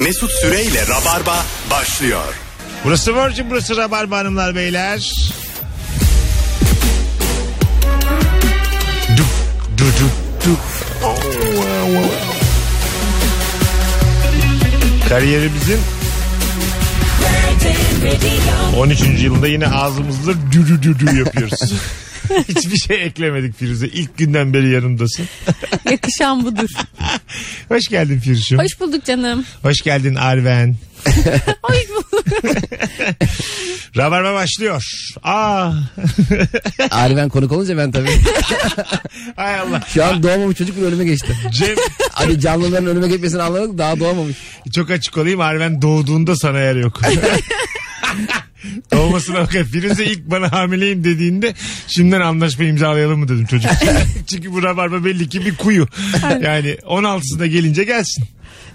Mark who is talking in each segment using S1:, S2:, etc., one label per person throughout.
S1: Mesut Süreyle Rabarba başlıyor.
S2: Burası Virgin, burası Rabarba hanımlar beyler. Dup, du, du, Oh, du. Kariyerimizin 13. yılında yine ağzımızla dürü dürü yapıyoruz. Hiçbir şey eklemedik Firuze. İlk günden beri yanımdasın.
S3: Yakışan budur.
S2: Hoş geldin Firuş'um. Hoş.
S3: Hoş bulduk canım.
S2: geldin Arven.
S3: Hoş bulduk.
S2: Rabarba başlıyor. Ah, Aa,
S4: Arven konuk olunca ben tabii.
S2: hay Allah.
S4: Şu an doğmamış çocuk bile önüme geçti.
S2: Cem
S4: Hani canlıların önüme geçmesini anladık daha doğmamış.
S2: Çok açık olayım Arven doğduğunda sana yer yok. Doğmasına bakar. Firuze ilk bana hamileyim dediğinde şimdiden anlaşma imzalayalım mı dedim çocuk. Çünkü bu rabarba belli ki bir kuyu. Yani 16'sında gelince gelsin.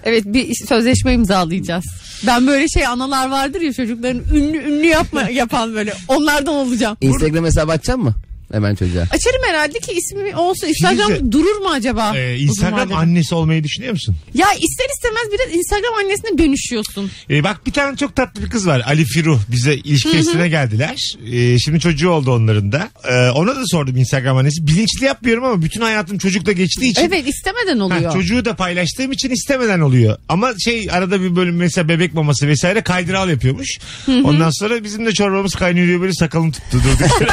S3: Evet bir sözleşme imzalayacağız. Ben böyle şey analar vardır ya çocukların ünlü ünlü yapma yapan böyle. Onlardan olacağım.
S4: Instagram hesabı açacaksın mı? Hemen çocuğa.
S3: Açarım herhalde ki ismi olsun. Instagram
S2: Firuze-
S3: durur mu acaba?
S2: Ee,
S3: Ah, uzun
S2: Instagram
S3: vadede?
S2: annesi olmayı düşünüyor musun?
S3: Ya ister istemez biraz Instagram annesine dönüşüyorsun.
S2: Ee, bak bir tane çok tatlı bir kız var. Ali Firuh bize ilişki testine geldiler. Ee, şimdi çocuğu oldu onların da. Ee, ona da sordum Instagram annesi. Bilinçli yapmıyorum ama bütün hayatım çocukla geçtiği için.
S3: Evet istemeden
S2: Ha,
S3: oluyor.
S2: çocuğu da paylaştığım için istemeden oluyor. Ama şey arada bir bölüm mesela bebek maması vesaire kaydıral yapıyormuş. Ondan sonra bizim de çorbamız kaynıyor diye böyle sakalım tuttu durduk yere.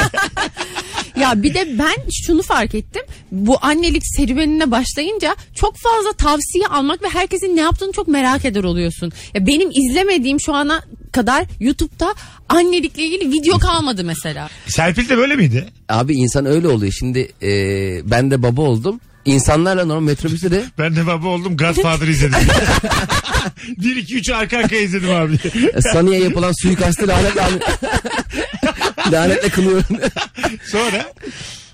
S3: Ya bir de ben şunu fark ettim. Bu annelik serüvenine başlayınca çok fazla tavsiye almak ve herkesin ne yaptığını çok merak eder oluyorsun. Ya benim izlemediğim şu ana kadar YouTube'da annelikle ilgili video kalmadı mesela.
S2: Serpil de böyle miydi?
S4: Abi insan öyle oluyor. Şimdi e, ben de baba oldum. İnsanlarla normal metrobüste de
S2: Ben de baba oldum Godfather izledim. 1 2 3 arka arkaya izledim abi.
S4: e, Saniye yapılan suikastı lanetle abi. lanetle kınıyorum.
S2: Sonra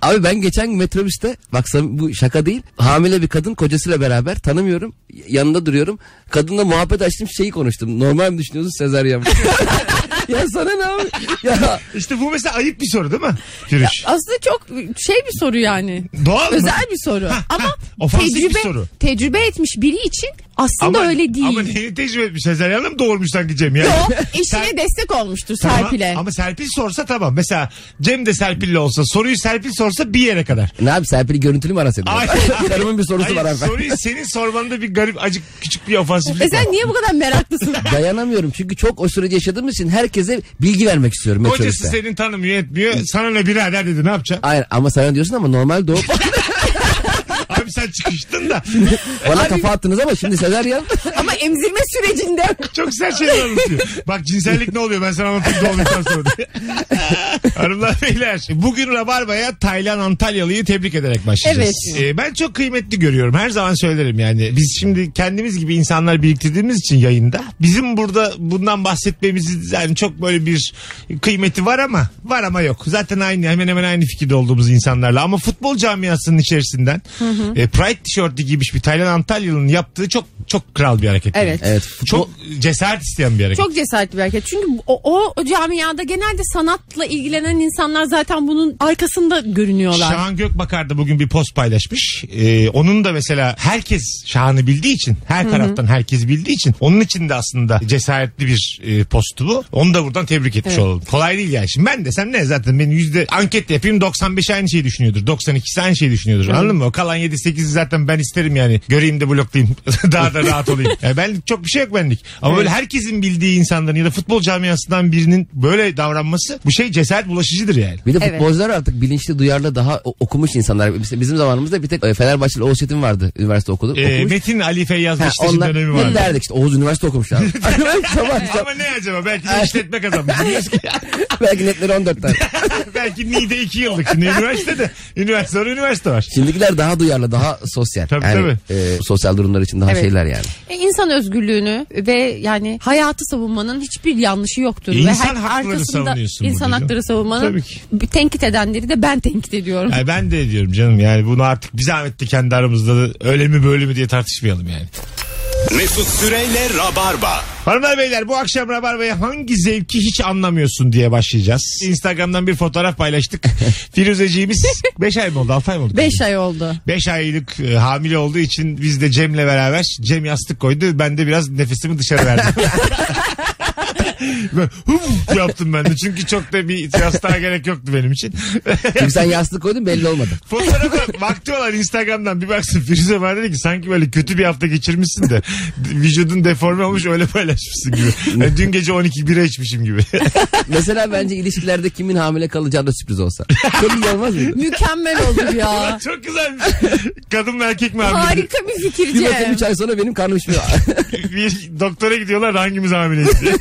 S4: Abi ben geçen gün metrobüste bak sam- bu şaka değil. Hamile bir kadın kocasıyla beraber tanımıyorum. Yanında duruyorum. Kadınla muhabbet açtım şeyi konuştum. Normal mi düşünüyorsun Sezaryen mi? ya sana ne abi? Ya
S2: işte bu mesela ayıp bir soru değil mi? Firuş.
S3: Aslında çok şey bir soru yani.
S2: Doğal mı?
S3: Özel bir soru. Ama
S2: ofansif bir
S3: tecrübe,
S2: soru.
S3: tecrübe etmiş biri için aslında öyle değil.
S2: Ama neyi tecrübe etmiş? Sezer Hanım doğurmuş sanki Cem ya.
S3: O eşine
S2: Sen-
S3: destek olmuştur
S2: Tamam,
S3: Serpil'e.
S2: Ama Serpil sorsa tamam. Mesela Cem de Serpil'le olsa soruyu Serpil sorsa bir yere kadar.
S4: E, ne abi Serpil'i görüntülü mü arasın?
S2: Ay,
S4: Karımın bir sorusu
S2: Hayır,
S4: var abi.
S2: Soruyu senin sormanda bir garip acık küçük bir ofansiflik.
S3: E sen niye bu kadar meraklısın?
S4: Dayanamıyorum çünkü çok o süreci yaşadığım için herkese bilgi vermek istiyorum
S2: var. Kocası
S4: metrobüste.
S2: senin tanımıyor etmiyor. Sana ne birader dedi ne yapacaksın?
S4: Hayır ama sana diyorsun ama normal doğup
S2: Abi sen çıkıştın da.
S4: bana kafa attınız ama şimdi Sezaryen
S3: Ama emzirme sürecinde
S2: Çok güzel şeyler anlatıyor. Bak cinsellik ne oluyor ben sana anlatayım doğduktan sonra. diye. Hanımlar beyler bugün Rabarba'ya Taylan Antalyalı'yı tebrik ederek başlayacağız.
S3: Evet.
S2: Ee, ben çok kıymetli görüyorum her zaman söylerim yani. Biz şimdi kendimiz gibi insanlar biriktirdiğimiz için yayında bizim burada bundan bahsetmemiz yani çok böyle bir kıymeti var ama var ama yok. Zaten aynı hemen hemen aynı fikirde olduğumuz insanlarla ama futbol camiasının içerisinden e, Pride tişörtü giymiş bir Taylan Antalyalı'nın yaptığı çok çok kral bir hareket.
S3: Evet.
S4: Evet futbol-
S2: Çok cesaret isteyen bir hareket.
S3: Çok cesaretli bir hareket. Çünkü o, o, o camiada genelde sanatla ilgilenen insanlar zaten bunun arkasında görünüyorlar.
S2: Şahan Gökbakar da bugün bir post paylaşmış. Ee, onun da mesela herkes Şahan'ı bildiği için, her taraftan herkes bildiği için onun için de aslında cesaretli bir e, postu bu. Onu da buradan tebrik etmiş olalım. Kolay değil yani. Şimdi ben desem ne zaten benim yüzde anket yapayım 95 aynı şeyi düşünüyordur. 92'si aynı şeyi düşünüyordur. Anladın mı? O kalan 7-8'i zaten ben isterim yani. Göreyim de bloklayayım. Daha da rahat olayım. Yani ben çok bir şey yok benlik. Ama böyle herkesin bildiği insanların ya da futbol camiasından birinin böyle davranması bu şey cesaret bulaşıcıdır yani.
S4: Bir de
S3: Evet.
S4: futbolcular artık bilinçli, duyarlı, daha o- okumuş insanlar. Biz- Bizim zamanımızda bir tek e, Fenerbahçeli Oğuz Çetin vardı. Üniversite okudu.
S2: Ee,
S4: okumuş.
S2: Metin Ali Feyyaz
S4: Ha,
S2: Beşiktaş'ın
S4: onlar-
S2: dönemi
S4: hep
S2: vardı.
S4: derdik işte Oğuz üniversite okumuş abi. Sabah sabah-
S2: Ama ne acaba? Belki de işletme kazanmış. Biliyoruz ki-
S4: belki netleri 14 tane.
S2: Belki NİDE 2 yıllık. Şimdi üniversitede. Üniversite sonra üniversite var.
S4: Şimdikiler daha duyarlı, daha sosyal.
S2: Tabii,
S4: yani, e, sosyal durumlar için daha
S3: Evet.
S4: şeyler yani.
S3: E, insan özgürlüğünü ve yani hayatı savunmanın hiçbir yanlışı yoktur.
S2: İnsan
S3: ve her
S2: hakları
S3: arkasında
S2: savunuyorsun
S3: İnsan
S2: burada canım.
S3: hakları
S2: Tabii
S3: savunmanın
S2: ki.
S3: bir tenkit edenleri de ben tenkit ediyorum.
S2: Ay ben de ediyorum canım yani bunu artık bir zahmet de kendi aramızda da öyle mi böyle mi diye tartışmayalım yani.
S1: Mesut Süreyle Rabarba.
S2: Hanımlar beyler bu akşam Rabarba'ya hangi zevki hiç anlamıyorsun diye başlayacağız. Instagram'dan bir fotoğraf paylaştık. Firuzeciğimiz 5 ay mı oldu 6 ay mı oldu?
S3: 5 ay oldu.
S2: 5 aylık e, hamile olduğu için biz de Cem'le beraber Cem yastık koydu. Ben de biraz nefesimi dışarı verdim. Ben huf yaptım ben de çünkü çok da bir yastığa gerek yoktu benim için.
S4: Çünkü sen yastık koydun belli olmadı.
S2: Fotoğrafa baktı olan Instagram'dan bir baksın Firuze bana dedi ki sanki böyle kötü bir hafta geçirmişsin de vücudun deforme olmuş öyle paylaşmışsın gibi. Yani dün gece 12 bira içmişim gibi.
S4: Mesela bence ilişkilerde kimin hamile kalacağı da sürpriz olsa. Çok iyi olmaz mıydı?
S3: Mükemmel olur ya.
S2: Çok güzelmiş. Kadın mı erkek mi hamile?
S3: Harika bir fikir
S4: Bir bakın
S3: Cem.
S4: 3 ay sonra benim karnım şişmiyor.
S2: Bir doktora gidiyorlar da hangimiz hamileyiz diye.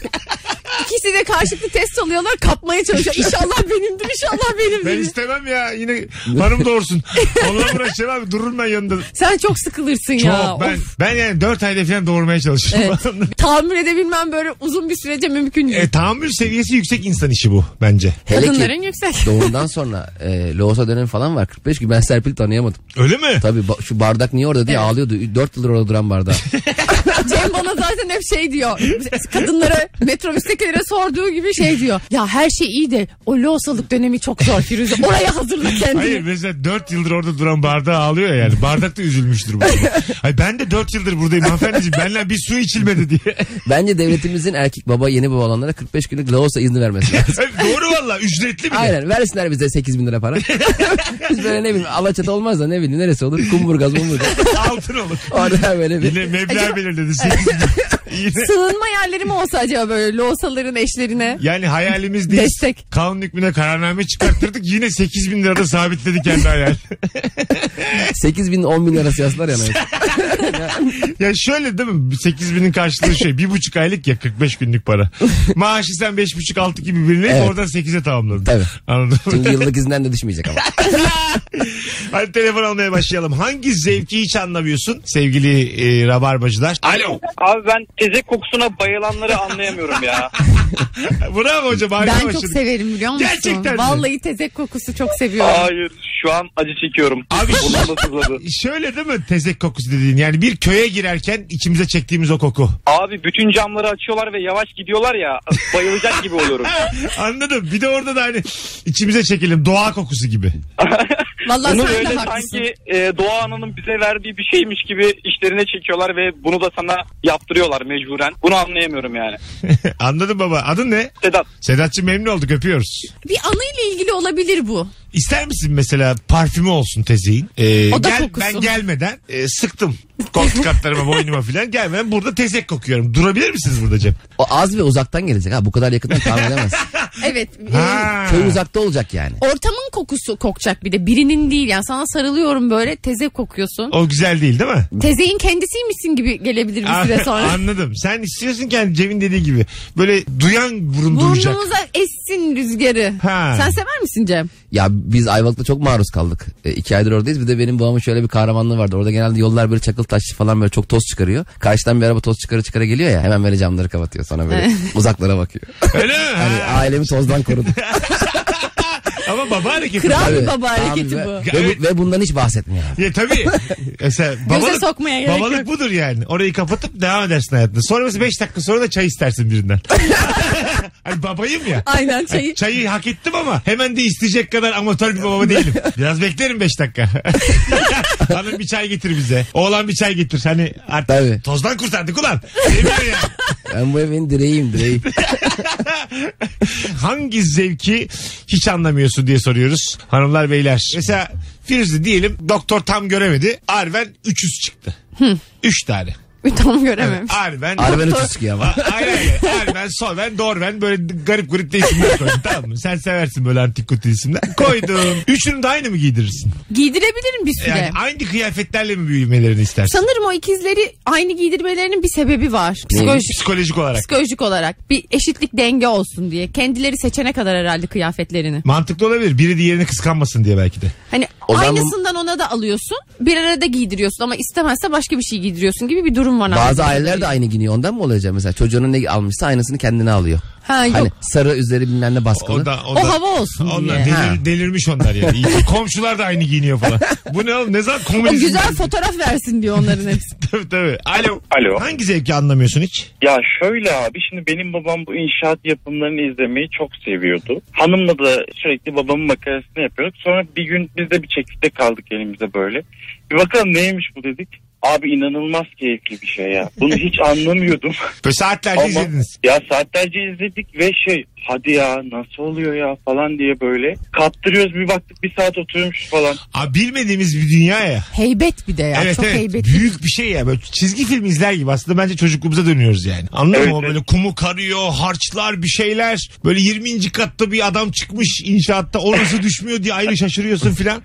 S3: İkisi de karşılıklı test alıyorlar kapmaya çalışıyor. İnşallah benimdir inşallah
S2: Ben
S3: benimdir.
S2: istemem ya yine hanım doğursun. Onunla uğraşacağım abi dururum ben yanında.
S3: Sen çok sıkılırsın
S2: Çok
S3: ya.
S2: ben,
S3: Of.
S2: ben yani 4 ayda falan doğurmaya çalışıyorum.
S3: Tahammül edebilmem böyle uzun bir sürece mümkün değil.
S2: e, tahammül seviyesi yüksek insan işi bu bence.
S4: Hele
S3: Kadınların
S4: ki
S3: yüksek.
S4: doğumdan sonra e, loğusa dönemi falan var. 45 gün ben Serpil'i tanıyamadım.
S2: Öyle mi?
S4: Tabii ba- şu bardak niye orada diye ağlıyordu. 4 yıldır orada duran bardağı.
S3: Cem bana zaten hep şey diyor. Kadınlara metrobüstekilere sorduğu gibi şey diyor. Ya her şey iyi de o loğusalık dönemi çok zor Firuze. Oraya hazırla kendini.
S2: Hayır mesela 4 yıldır orada duran bardağı ağlıyor yani. Bardak da üzülmüştür bu. arada. Hayır, ben de 4 yıldır buradayım hanımefendiciğim. Benle bir su içilmedi diye.
S4: Bence devletimizin erkek baba yeni baba olanlara 45 günlük loğusa izni vermesi lazım.
S2: Hayır, Doğru valla ücretli bir de.
S4: Aynen versinler bize 8 bin lira para. Biz böyle ne bileyim Alaçatı olmaz da ne bileyim neresi olur? Kumburgaz, Mumburgaz.
S2: Altın olur.
S4: Orada böyle bir
S2: Yine meblağ belirledi. Sekiz bin. Yine...
S3: Sığınma yerleri mi olsa acaba böyle loğusaların eşlerine?
S2: Yani hayalimiz değil.
S3: Destek.
S2: Kanun hükmüne kararname çıkarttırdık. Yine 8 bin lirada sabitledik kendi hayal.
S4: 8 bin 10 bin arası yaslar yana.
S2: ya şöyle değil mi? 8 binin karşılığı şey. Bir buçuk aylık ya 45 günlük para. Maaşı sen beş buçuk altı gibi birine
S4: Evet.
S2: oradan 8'e tamamladın.
S4: Tabii.
S2: Anladın mı?
S4: Çünkü yıllık izinden de düşmeyecek ama.
S2: Hadi telefon almaya başlayalım. Hangi zevki hiç anlamıyorsun sevgili e, rabarbacılar? Alo.
S5: Abi ben tezek kokusuna bayılanları anlayamıyorum ya.
S2: Bravo hocam. harika
S3: Ben çok
S2: başladık.
S3: severim biliyor musun?
S2: Gerçekten mi?
S3: Vallahi tezek kokusu çok seviyorum.
S5: Hayır şu an acı çekiyorum.
S2: Abi-
S5: Burnum da sızladı.
S2: Şöyle değil mi tezek kokusu dediğin? Yani bir köye girerken içimize çektiğimiz o koku.
S5: Abi bütün camları açıyorlar ve yavaş gidiyorlar ya bayılacak gibi oluyorum.
S2: Anladım. Bir de orada da hani içimize çekelim. Doğa kokusu gibi.
S3: Vallahi
S5: Bunu
S3: sen
S5: böyle
S3: de haklısın.
S5: sanki e, Doğa Ana'nın bize verdiği bir şeymiş gibi işlerine çekiyorlar ve bunu da sana yaptırıyorlar mecburen. Bunu anlayamıyorum yani.
S2: Anladım baba. Adın ne?
S5: Sedat
S2: Sedatçı memnun olduk öpüyoruz.
S3: Bir anıyla ilgili olabilir bu.
S2: İster misin mesela parfümü olsun tezeğin? Ee,
S3: O da
S2: gel,
S3: kokusu.
S2: Ben gelmeden e, sıktım koltuk katlarıma boynuma filan gelmeden burada tezek kokuyorum. Durabilir misiniz burada Cem?
S4: O az ve uzaktan gelecek ha. Bu kadar yakından tahmin edemez.
S3: Evet. e,
S2: Ha.
S4: Köy uzakta olacak yani.
S3: Ortamın kokusu kokacak bir de birinin değil yani sana sarılıyorum böyle teze kokuyorsun.
S2: O güzel değil değil mi?
S3: Tezeğin kendisiymişsin gibi gelebilir
S2: Ah,
S3: bir süre sonra.
S2: Anladım. Sen istiyorsun ki hani Cem'in dediği gibi böyle duyan burun duyacak.
S3: Burnumuza essin rüzgarı.
S2: Ha.
S3: Sen sever misin Cem?
S4: Ya biz Ayvalık'ta çok maruz kaldık. E, iki aydır oradayız. Bir de benim babamın şöyle bir kahramanlığı vardı. Orada genelde yollar böyle çakıl taşlı falan böyle çok toz çıkarıyor. Karşıdan bir araba toz çıkara çıkara geliyor ya. Hemen böyle camları kapatıyor. Sonra böyle uzaklara bakıyor.
S2: Öyle mi?
S4: Hani
S2: Ha.
S4: ailemi tozdan korudu.
S2: Ama baba hareketi.
S3: Kral bir
S4: Tabii.
S3: baba
S4: Tabii
S3: hareketi
S4: ve-
S3: bu.
S4: Ve, bu- ve bundan hiç bahsetmiyor. abi.
S2: Ya tabii. Mesela babalık,
S3: sokmaya gerek
S2: babalık
S3: yok.
S2: budur yani. Orayı kapatıp devam edersin hayatına. Sonra mesela 5 dakika sonra da çay istersin birinden. hani babayım ya.
S3: Aynen çayı.
S2: Çayı hak ettim ama hemen de isteyecek kadar amatör bir baba değilim. Biraz beklerim 5 dakika. Hanım bir çay getir bize. Oğlan bir çay getir. Hani artık
S4: Tabii.
S2: tozdan kurtardık ulan. Demiyor ya.
S4: Ben bu evin direğiyim direği.
S2: Hangi zevki hiç anlamıyorsun diye soruyoruz. Hanımlar beyler. Mesela Firuze diyelim doktor tam göremedi. Arven 300 çıktı. 3 tane.
S3: Tam görememiş.
S2: Arven.
S4: Arabanı çıkıyor ama.
S2: Hayır hayır. Arven, Solven, Dorven böyle garip garip de isimler koydum tamam mı? Sen seversin böyle antik kutu isimler. Koydum. Üçünü de aynı mı giydirirsin?
S3: Giydirebilirim bir süre.
S2: Yani aynı kıyafetlerle mi büyümelerini istersin?
S3: Sanırım o ikizleri aynı giydirmelerinin bir sebebi var. Psikolojik,
S2: Psikolojik olarak.
S3: psikolojik olarak bir eşitlik denge olsun diye. Kendileri seçene kadar herhalde kıyafetlerini.
S2: Mantıklı olabilir. Biri diğerini kıskanmasın diye belki de.
S3: Hani
S4: O zaman-
S3: aynısından ona da alıyorsun. Bir arada giydiriyorsun ama istemezse başka bir şey giydiriyorsun gibi bir durum durum var.
S4: Bazı
S3: aslında.
S4: aileler de aynı giyiniyor. Ondan mı olacak mesela? Çocuğunun ne almışsa aynısını kendine alıyor.
S3: Ha, yok.
S4: Hani sarı üzeri bilmem ne baskılı.
S2: O da, o,
S3: o,
S2: da,
S3: hava olsun
S2: Onlar
S3: diye.
S2: delir- delirmiş onlar yani. İyi ki Komşular da aynı giyiniyor falan. Bu ne oğlum? Ne zaman
S3: O
S2: komünizm?
S3: güzel fotoğraf versin diyor onların hepsi.
S2: tabii tabii. Alo.
S5: Alo.
S2: Hangi zevki anlamıyorsun hiç?
S5: Ya şöyle abi şimdi benim babam bu inşaat yapımlarını izlemeyi çok seviyordu. Hanımla da sürekli babamın makarasını yapıyorduk. Sonra bir gün biz de bir çekikte kaldık elimizde böyle. Bir bakalım neymiş bu dedik. Abi inanılmaz keyifli bir şey ya. Bunu hiç anlamıyordum.
S2: Böyle saatlerce
S5: Ama
S2: izlediniz.
S5: ya saatlerce izledik ve şey hadi ya nasıl oluyor ya falan diye böyle kaptırıyoruz bir baktık bir saat oturmuş falan.
S2: Aa, bilmediğimiz bir dünya ya.
S3: Heybet bir de ya.
S2: evet
S3: Çok
S2: evet.
S3: heybetli.
S2: Büyük bir şey ya. Böyle çizgi film izler gibi. Aslında bence çocukluğumuza dönüyoruz yani. Anladın
S5: Evet,
S2: mı? O
S5: evet.
S2: Böyle kumu karıyor, harçlar bir şeyler. Böyle 20. katta bir adam çıkmış inşaatta. O nasıl düşmüyor diye ayrı şaşırıyorsun filan.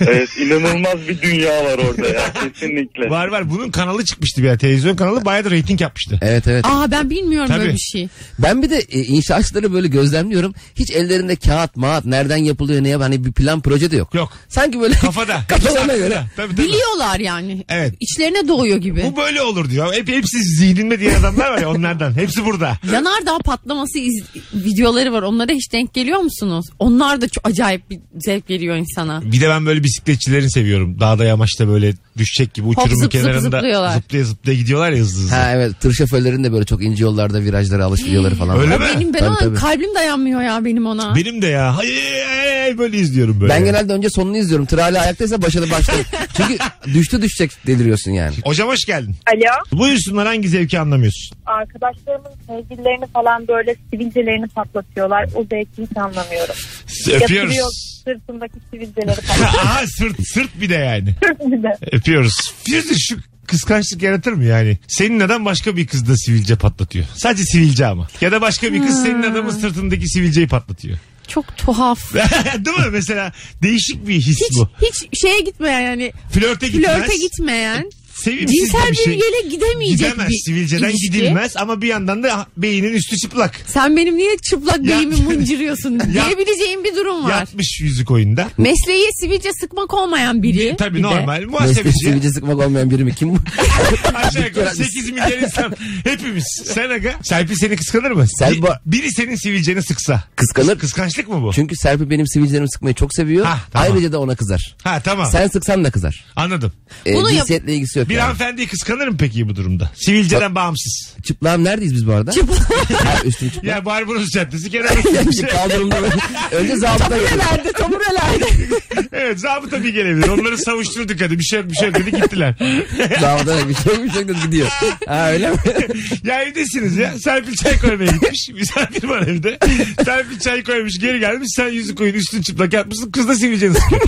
S5: Evet inanılmaz bir dünya var orada ya kesinlikle.
S2: var var. Bunun kanalı çıkmıştı bir ara. Televizyon kanalı bayağı da reyting yapmıştı.
S4: Evet evet.
S3: Aa ben bilmiyorum
S2: Tabii.
S3: böyle bir şey.
S4: Ben bir de e, inşaatçıları böyle gözlemliyorum. Hiç ellerinde kağıt, mağat, nereden yapılıyor, neye hani bir plan proje de yok.
S2: Yok.
S4: Sanki böyle
S2: Kafada.
S4: kafalarına göre.
S2: Tabii, tabii.
S3: Biliyorlar yani.
S2: Evet.
S3: İçlerine doğuyor gibi.
S2: Bu böyle olur diyor. Hep hepsi zihninde diğer adamlar var ya onlardan. Hepsi burada.
S3: Yanardağ patlaması iz- videoları var. Onlara hiç denk geliyor musunuz? Onlar da çok acayip bir zevk veriyor insana.
S2: Bir de ben böyle bisikletçilerini seviyorum. Dağda yamaçta böyle düşecek gibi uçurumun
S3: zıp zıp
S2: kenarında
S3: zıplıyorlar.
S2: zıplaya zıplaya gidiyorlar ya hızlı hızlı.
S4: Ha evet tır şoförlerin de böyle çok ince yollarda virajlara alış videoları falan.
S2: Öyle
S4: var.
S2: mi?
S3: Benim ben
S4: Tabii,
S3: ona
S4: tabii.
S3: kalbim dayanmıyor ya benim ona.
S2: Benim de ya hay, hay, hay böyle izliyorum böyle.
S4: Ben genelde önce sonunu izliyorum. Tır hala ayaktaysa başını başta. Çünkü düştü düşecek deliriyorsun yani.
S2: Hocam hoş geldin.
S6: Alo.
S2: Buyursunlar hangi zevki anlamıyorsun?
S6: Arkadaşlarımın sevgililerini falan böyle sivilcelerini patlatıyorlar. O zevki hiç anlamıyorum. Yatırıyor
S2: Öpüyoruz.
S6: sırtındaki sivilceleri falan.
S2: Aha sırt, sırt bir de yani.
S6: Bir de.
S2: Öpüyoruz. Bir de şu kıskançlık yaratır mı yani? Senin adam başka bir kızda sivilce patlatıyor. Sadece sivilce ama. Ya da başka bir kız senin adamın sırtındaki sivilceyi patlatıyor.
S3: Çok tuhaf.
S2: Değil mi? Mesela değişik bir his
S3: Hiç,
S2: bu.
S3: hiç şeye gitmeyen yani
S2: Flörte gitmez.
S3: flörte gitmeyen
S2: Sevimsiz
S3: cinsel
S2: bir şey.
S3: bir yere gidemeyecek
S2: Gidemez.
S3: bir
S2: Sivilceden
S3: ilişki.
S2: gidilmez ama bir yandan da beynin üstü çıplak.
S3: Sen benim niye çıplak
S2: Ya-
S3: beyimi mıncırıyorsun
S2: Ya-
S3: diyebileceğim bir durum var.
S2: Yatmış yüzük oyunda.
S3: Mesleği sivilce sıkmak olmayan biri.
S2: Tabii
S3: bir de.
S2: normal
S4: Mesleği
S2: muhasebeci.
S4: sivilce sıkmak olmayan biri mi? Kim bu?
S2: Aşağı yukarı 8 milyar insan hepimiz. Sen aga. Serpil seni kıskanır mı?
S4: Serpil-
S2: Bir- biri senin sivilceni sıksa.
S4: Kıskanır.
S2: Kıskançlık mı bu?
S4: Çünkü Serpil benim sivilcelerimi sıkmayı çok seviyor.
S2: Hah, tamam.
S4: Ayrıca da ona kızar.
S2: Ha tamam.
S4: Sen sıksan da kızar.
S2: Anladım.
S4: Ee,
S3: Bunu yap-
S4: cinsiyetle ilgisi yok.
S2: Bir
S4: yani.
S2: hanımefendiyi kıskanır mı peki bu durumda? Sivilceden bağımsız.
S4: Çıplağım neredeyiz biz bu arada? Çıplağım. Ha, üstüm çıplak.
S2: Ya Barbaros Caddesi kenarında bir şey.
S4: Kaldırımda böyle- Önce zabıta geliyor.
S3: Nerede tomurelerde?
S2: Evet zabıta bir gelebilir. Onları savuşturduk hadi bir şey yok bir şey yok dedi gittiler.
S4: Zabıta bir şey bir şey dedi, gidiyor. Ha öyle mi?
S2: ya evdesiniz ya. Serpil çay koymaya gitmiş. Misafir var evde. Serpil çay koymuş geri gelmiş. Sen yüzü koyun üstün çıplak yapmışsın. Kız da sivilceni sıkıyor.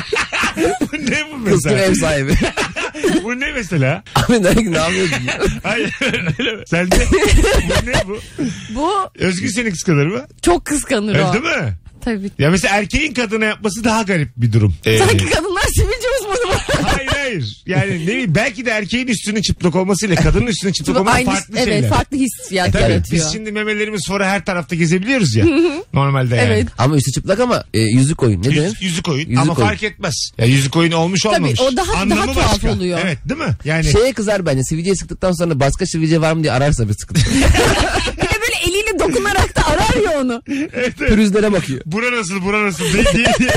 S2: bu ne bu
S4: Kız gibi
S2: mesela?
S4: ev sahibi.
S2: bu ne mesela?
S4: Abi ne, ne yapıyorsun?
S2: Hayır öyle mi? Sence bu ne bu?
S3: Bu
S2: Özgür seni kıskanır mı?
S3: çok kıskanır
S2: Öyle
S3: o.
S2: değil mi?
S3: Tabii.
S2: Ya mesela erkeğin kadına yapması daha garip bir durum. Ee,
S3: Sanki kadınlar sivilce uzmanı var.
S2: hayır hayır. Yani ne bileyim belki de erkeğin üstünün çıplak olmasıyla kadının üstünün çıplak olması
S3: Aynı-
S2: farklı
S3: evet
S2: şeyler.
S3: farklı hissiyat
S2: Tabii
S3: yaratıyor.
S2: biz şimdi memelerimiz sonra her tarafta gezebiliyoruz ya. normalde yani.
S3: Evet.
S4: Ama üstü çıplak ama e, yüzü koyun. Ne denir?
S2: Yüz, yüzük oyun
S4: Yüzük
S2: ama
S4: oyun.
S2: fark etmez. Ya yüzük oyun olmuş olmamış.
S3: o daha- daha
S2: Anlamı
S3: tuhaf
S2: başka.
S3: oluyor. Şey-
S2: Evet değil mi? Yani
S4: Şeye kızar bence. Sivilceyi sıktıktan sonra başka sivilce var mı diye ararsa bir sıkıntı.
S3: Bir de böyle eliyle dokunarak da arar ya onu.
S4: Pürüzlere bakıyor.
S2: bura nasıl bura nasıl diye diye. diye.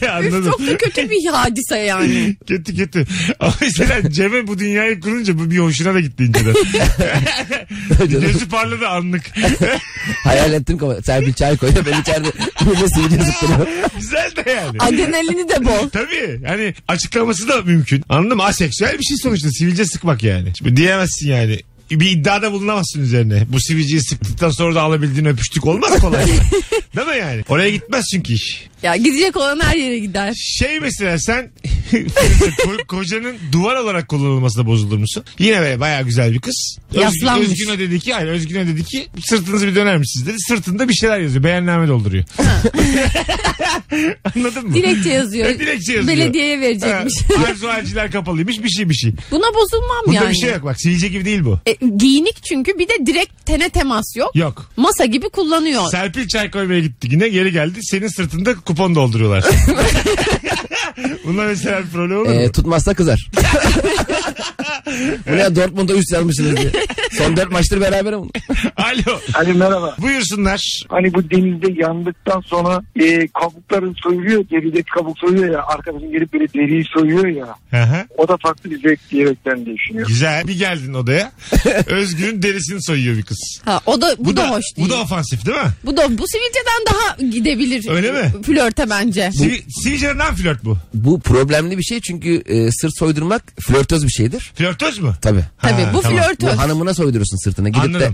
S2: Ya Anladım.
S3: Çok kötü bir hadise yani.
S2: Kötü kötü. Ama mesela Cem'e bu dünyayı kurunca bu bir hoşuna da gitti inceden. Gözü parladı anlık.
S4: Hayal ettim ama Serpil çay koyuyor. Ben içeride böyle sivilce sıktırıyor.
S2: Güzel de yani.
S3: Adrenalini de bol.
S2: Tabii. Hani açıklaması da mümkün. Anladın mı? Aseksüel bir şey sonuçta. Sivilce sıkmak yani. Şimdi diyemezsin yani. Bir iddiada bulunamazsın üzerine. Bu sivilceyi sıktıktan sonra da alabildiğini öpüştük olmaz kolay. Değil mi yani? Oraya gitmez çünkü iş.
S3: Ya gidecek olan her yere gider.
S2: Şey mesela sen Firuze, ko- kocanın duvar olarak kullanılmasına bozulur musun? Yine böyle bayağı güzel bir kız.
S3: Yaslanmış.
S2: Özgün'e dedi ki, hayır Özgün'e dedi ki sırtınızı bir döner misiniz dedi. Sırtında bir şeyler yazıyor. Beyanname dolduruyor. Anladın mı?
S3: Dilekçe yazıyor.
S2: Evet, E, dilekçe yazıyor.
S3: Belediyeye verecekmiş.
S2: Ha, Arzu aciller kapalıymış bir şey bir şey.
S3: Buna bozulmam
S2: Bunda
S3: yani.
S2: bir şey yok bak sivilce gibi değil bu.
S3: E, giyinik çünkü bir de direkt tene temas yok.
S2: Yok.
S3: Masa gibi kullanıyor.
S2: Serpil çay koymaya gitti yine geri geldi. Senin sırtında kupon dolduruyorlar.
S4: E,
S2: Bunlar mesela bir problem olur mu?
S4: Ee, tutmazsa kızar. Bu ne Dortmund'a üst yazmışsınız diye. Son dört maçtır beraber ama.
S2: Alo.
S7: Hani merhaba.
S2: Buyursunlar.
S7: Hani bu denizde yandıktan sonra e, kabukların soyuluyor. Gerideki kabuk soyuyor ya. Arkadaşın gelip böyle deriyi soyuyor ya.
S2: Hı hı.
S7: O da farklı bir zevk diyerekten diye düşünüyorum.
S2: Güzel. Bir geldin odaya. Özgür'ün derisini soyuyor bir kız.
S3: Ha, o da bu, da, hoş değil.
S2: Bu da ofansif değil mi?
S3: Bu da bu sivilceden daha gidebilir.
S2: Öyle mi?
S3: Flörte bence.
S2: Sivi, sivilcelerinden flört bu.
S4: Bu problemli bir şey çünkü e, sırt soydurmak flörtöz bir şeydir.
S2: Flörtöz mü?
S4: Tabii.
S3: Tabii
S2: Ha,
S3: bu
S2: tamam.
S4: Bu
S3: flörtöz.
S4: hanımına soydurursun sırtına. Gidip
S2: Anladım.
S4: de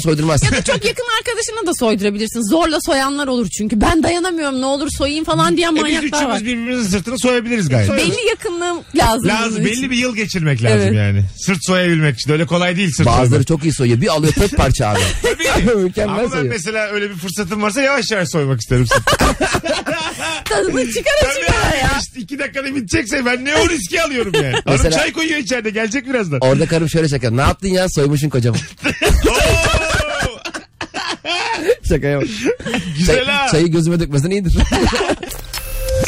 S4: soydurmazsın.
S3: Ya da çok yakın arkadaşına da soydurabilirsin. Zorla soyanlar olur çünkü. Ben dayanamıyorum ne olur soyayım falan diyen
S2: E biz
S3: manyaklar var.
S2: üçümüz birbirimizin sırtını soyabiliriz gayet.
S3: Belli yakınlığım lazım.
S2: Lazım
S3: bunun için.
S2: belli bir yıl geçirmek lazım
S3: Evet.
S2: yani. Sırt soyabilmek için öyle kolay değil sırt
S4: Bazıları
S2: soymak.
S4: çok iyi soyuyor. Bir alıyor tek parça abi.
S2: Tabii.
S4: Mükemmel
S2: Ama ben
S4: soyuyor.
S2: mesela öyle bir fırsatım varsa yavaş yavaş soymak isterim sırtı.
S3: Tadını çıkara
S2: Tabii
S3: çıkara
S2: abi,
S3: ya.
S2: işte iki dakikada bitecekse ben ne o riski alıyorum yani. Hanım
S4: Mesela-
S2: çay koyuyor içeride gelecek birazdan.
S4: Orada karım şöyle şaka. Ne yaptın ya soymuşun kocamı.
S2: Oo,
S4: şaka yok.
S2: güzel ha.
S4: çayı gözüme dökmesen iyidir.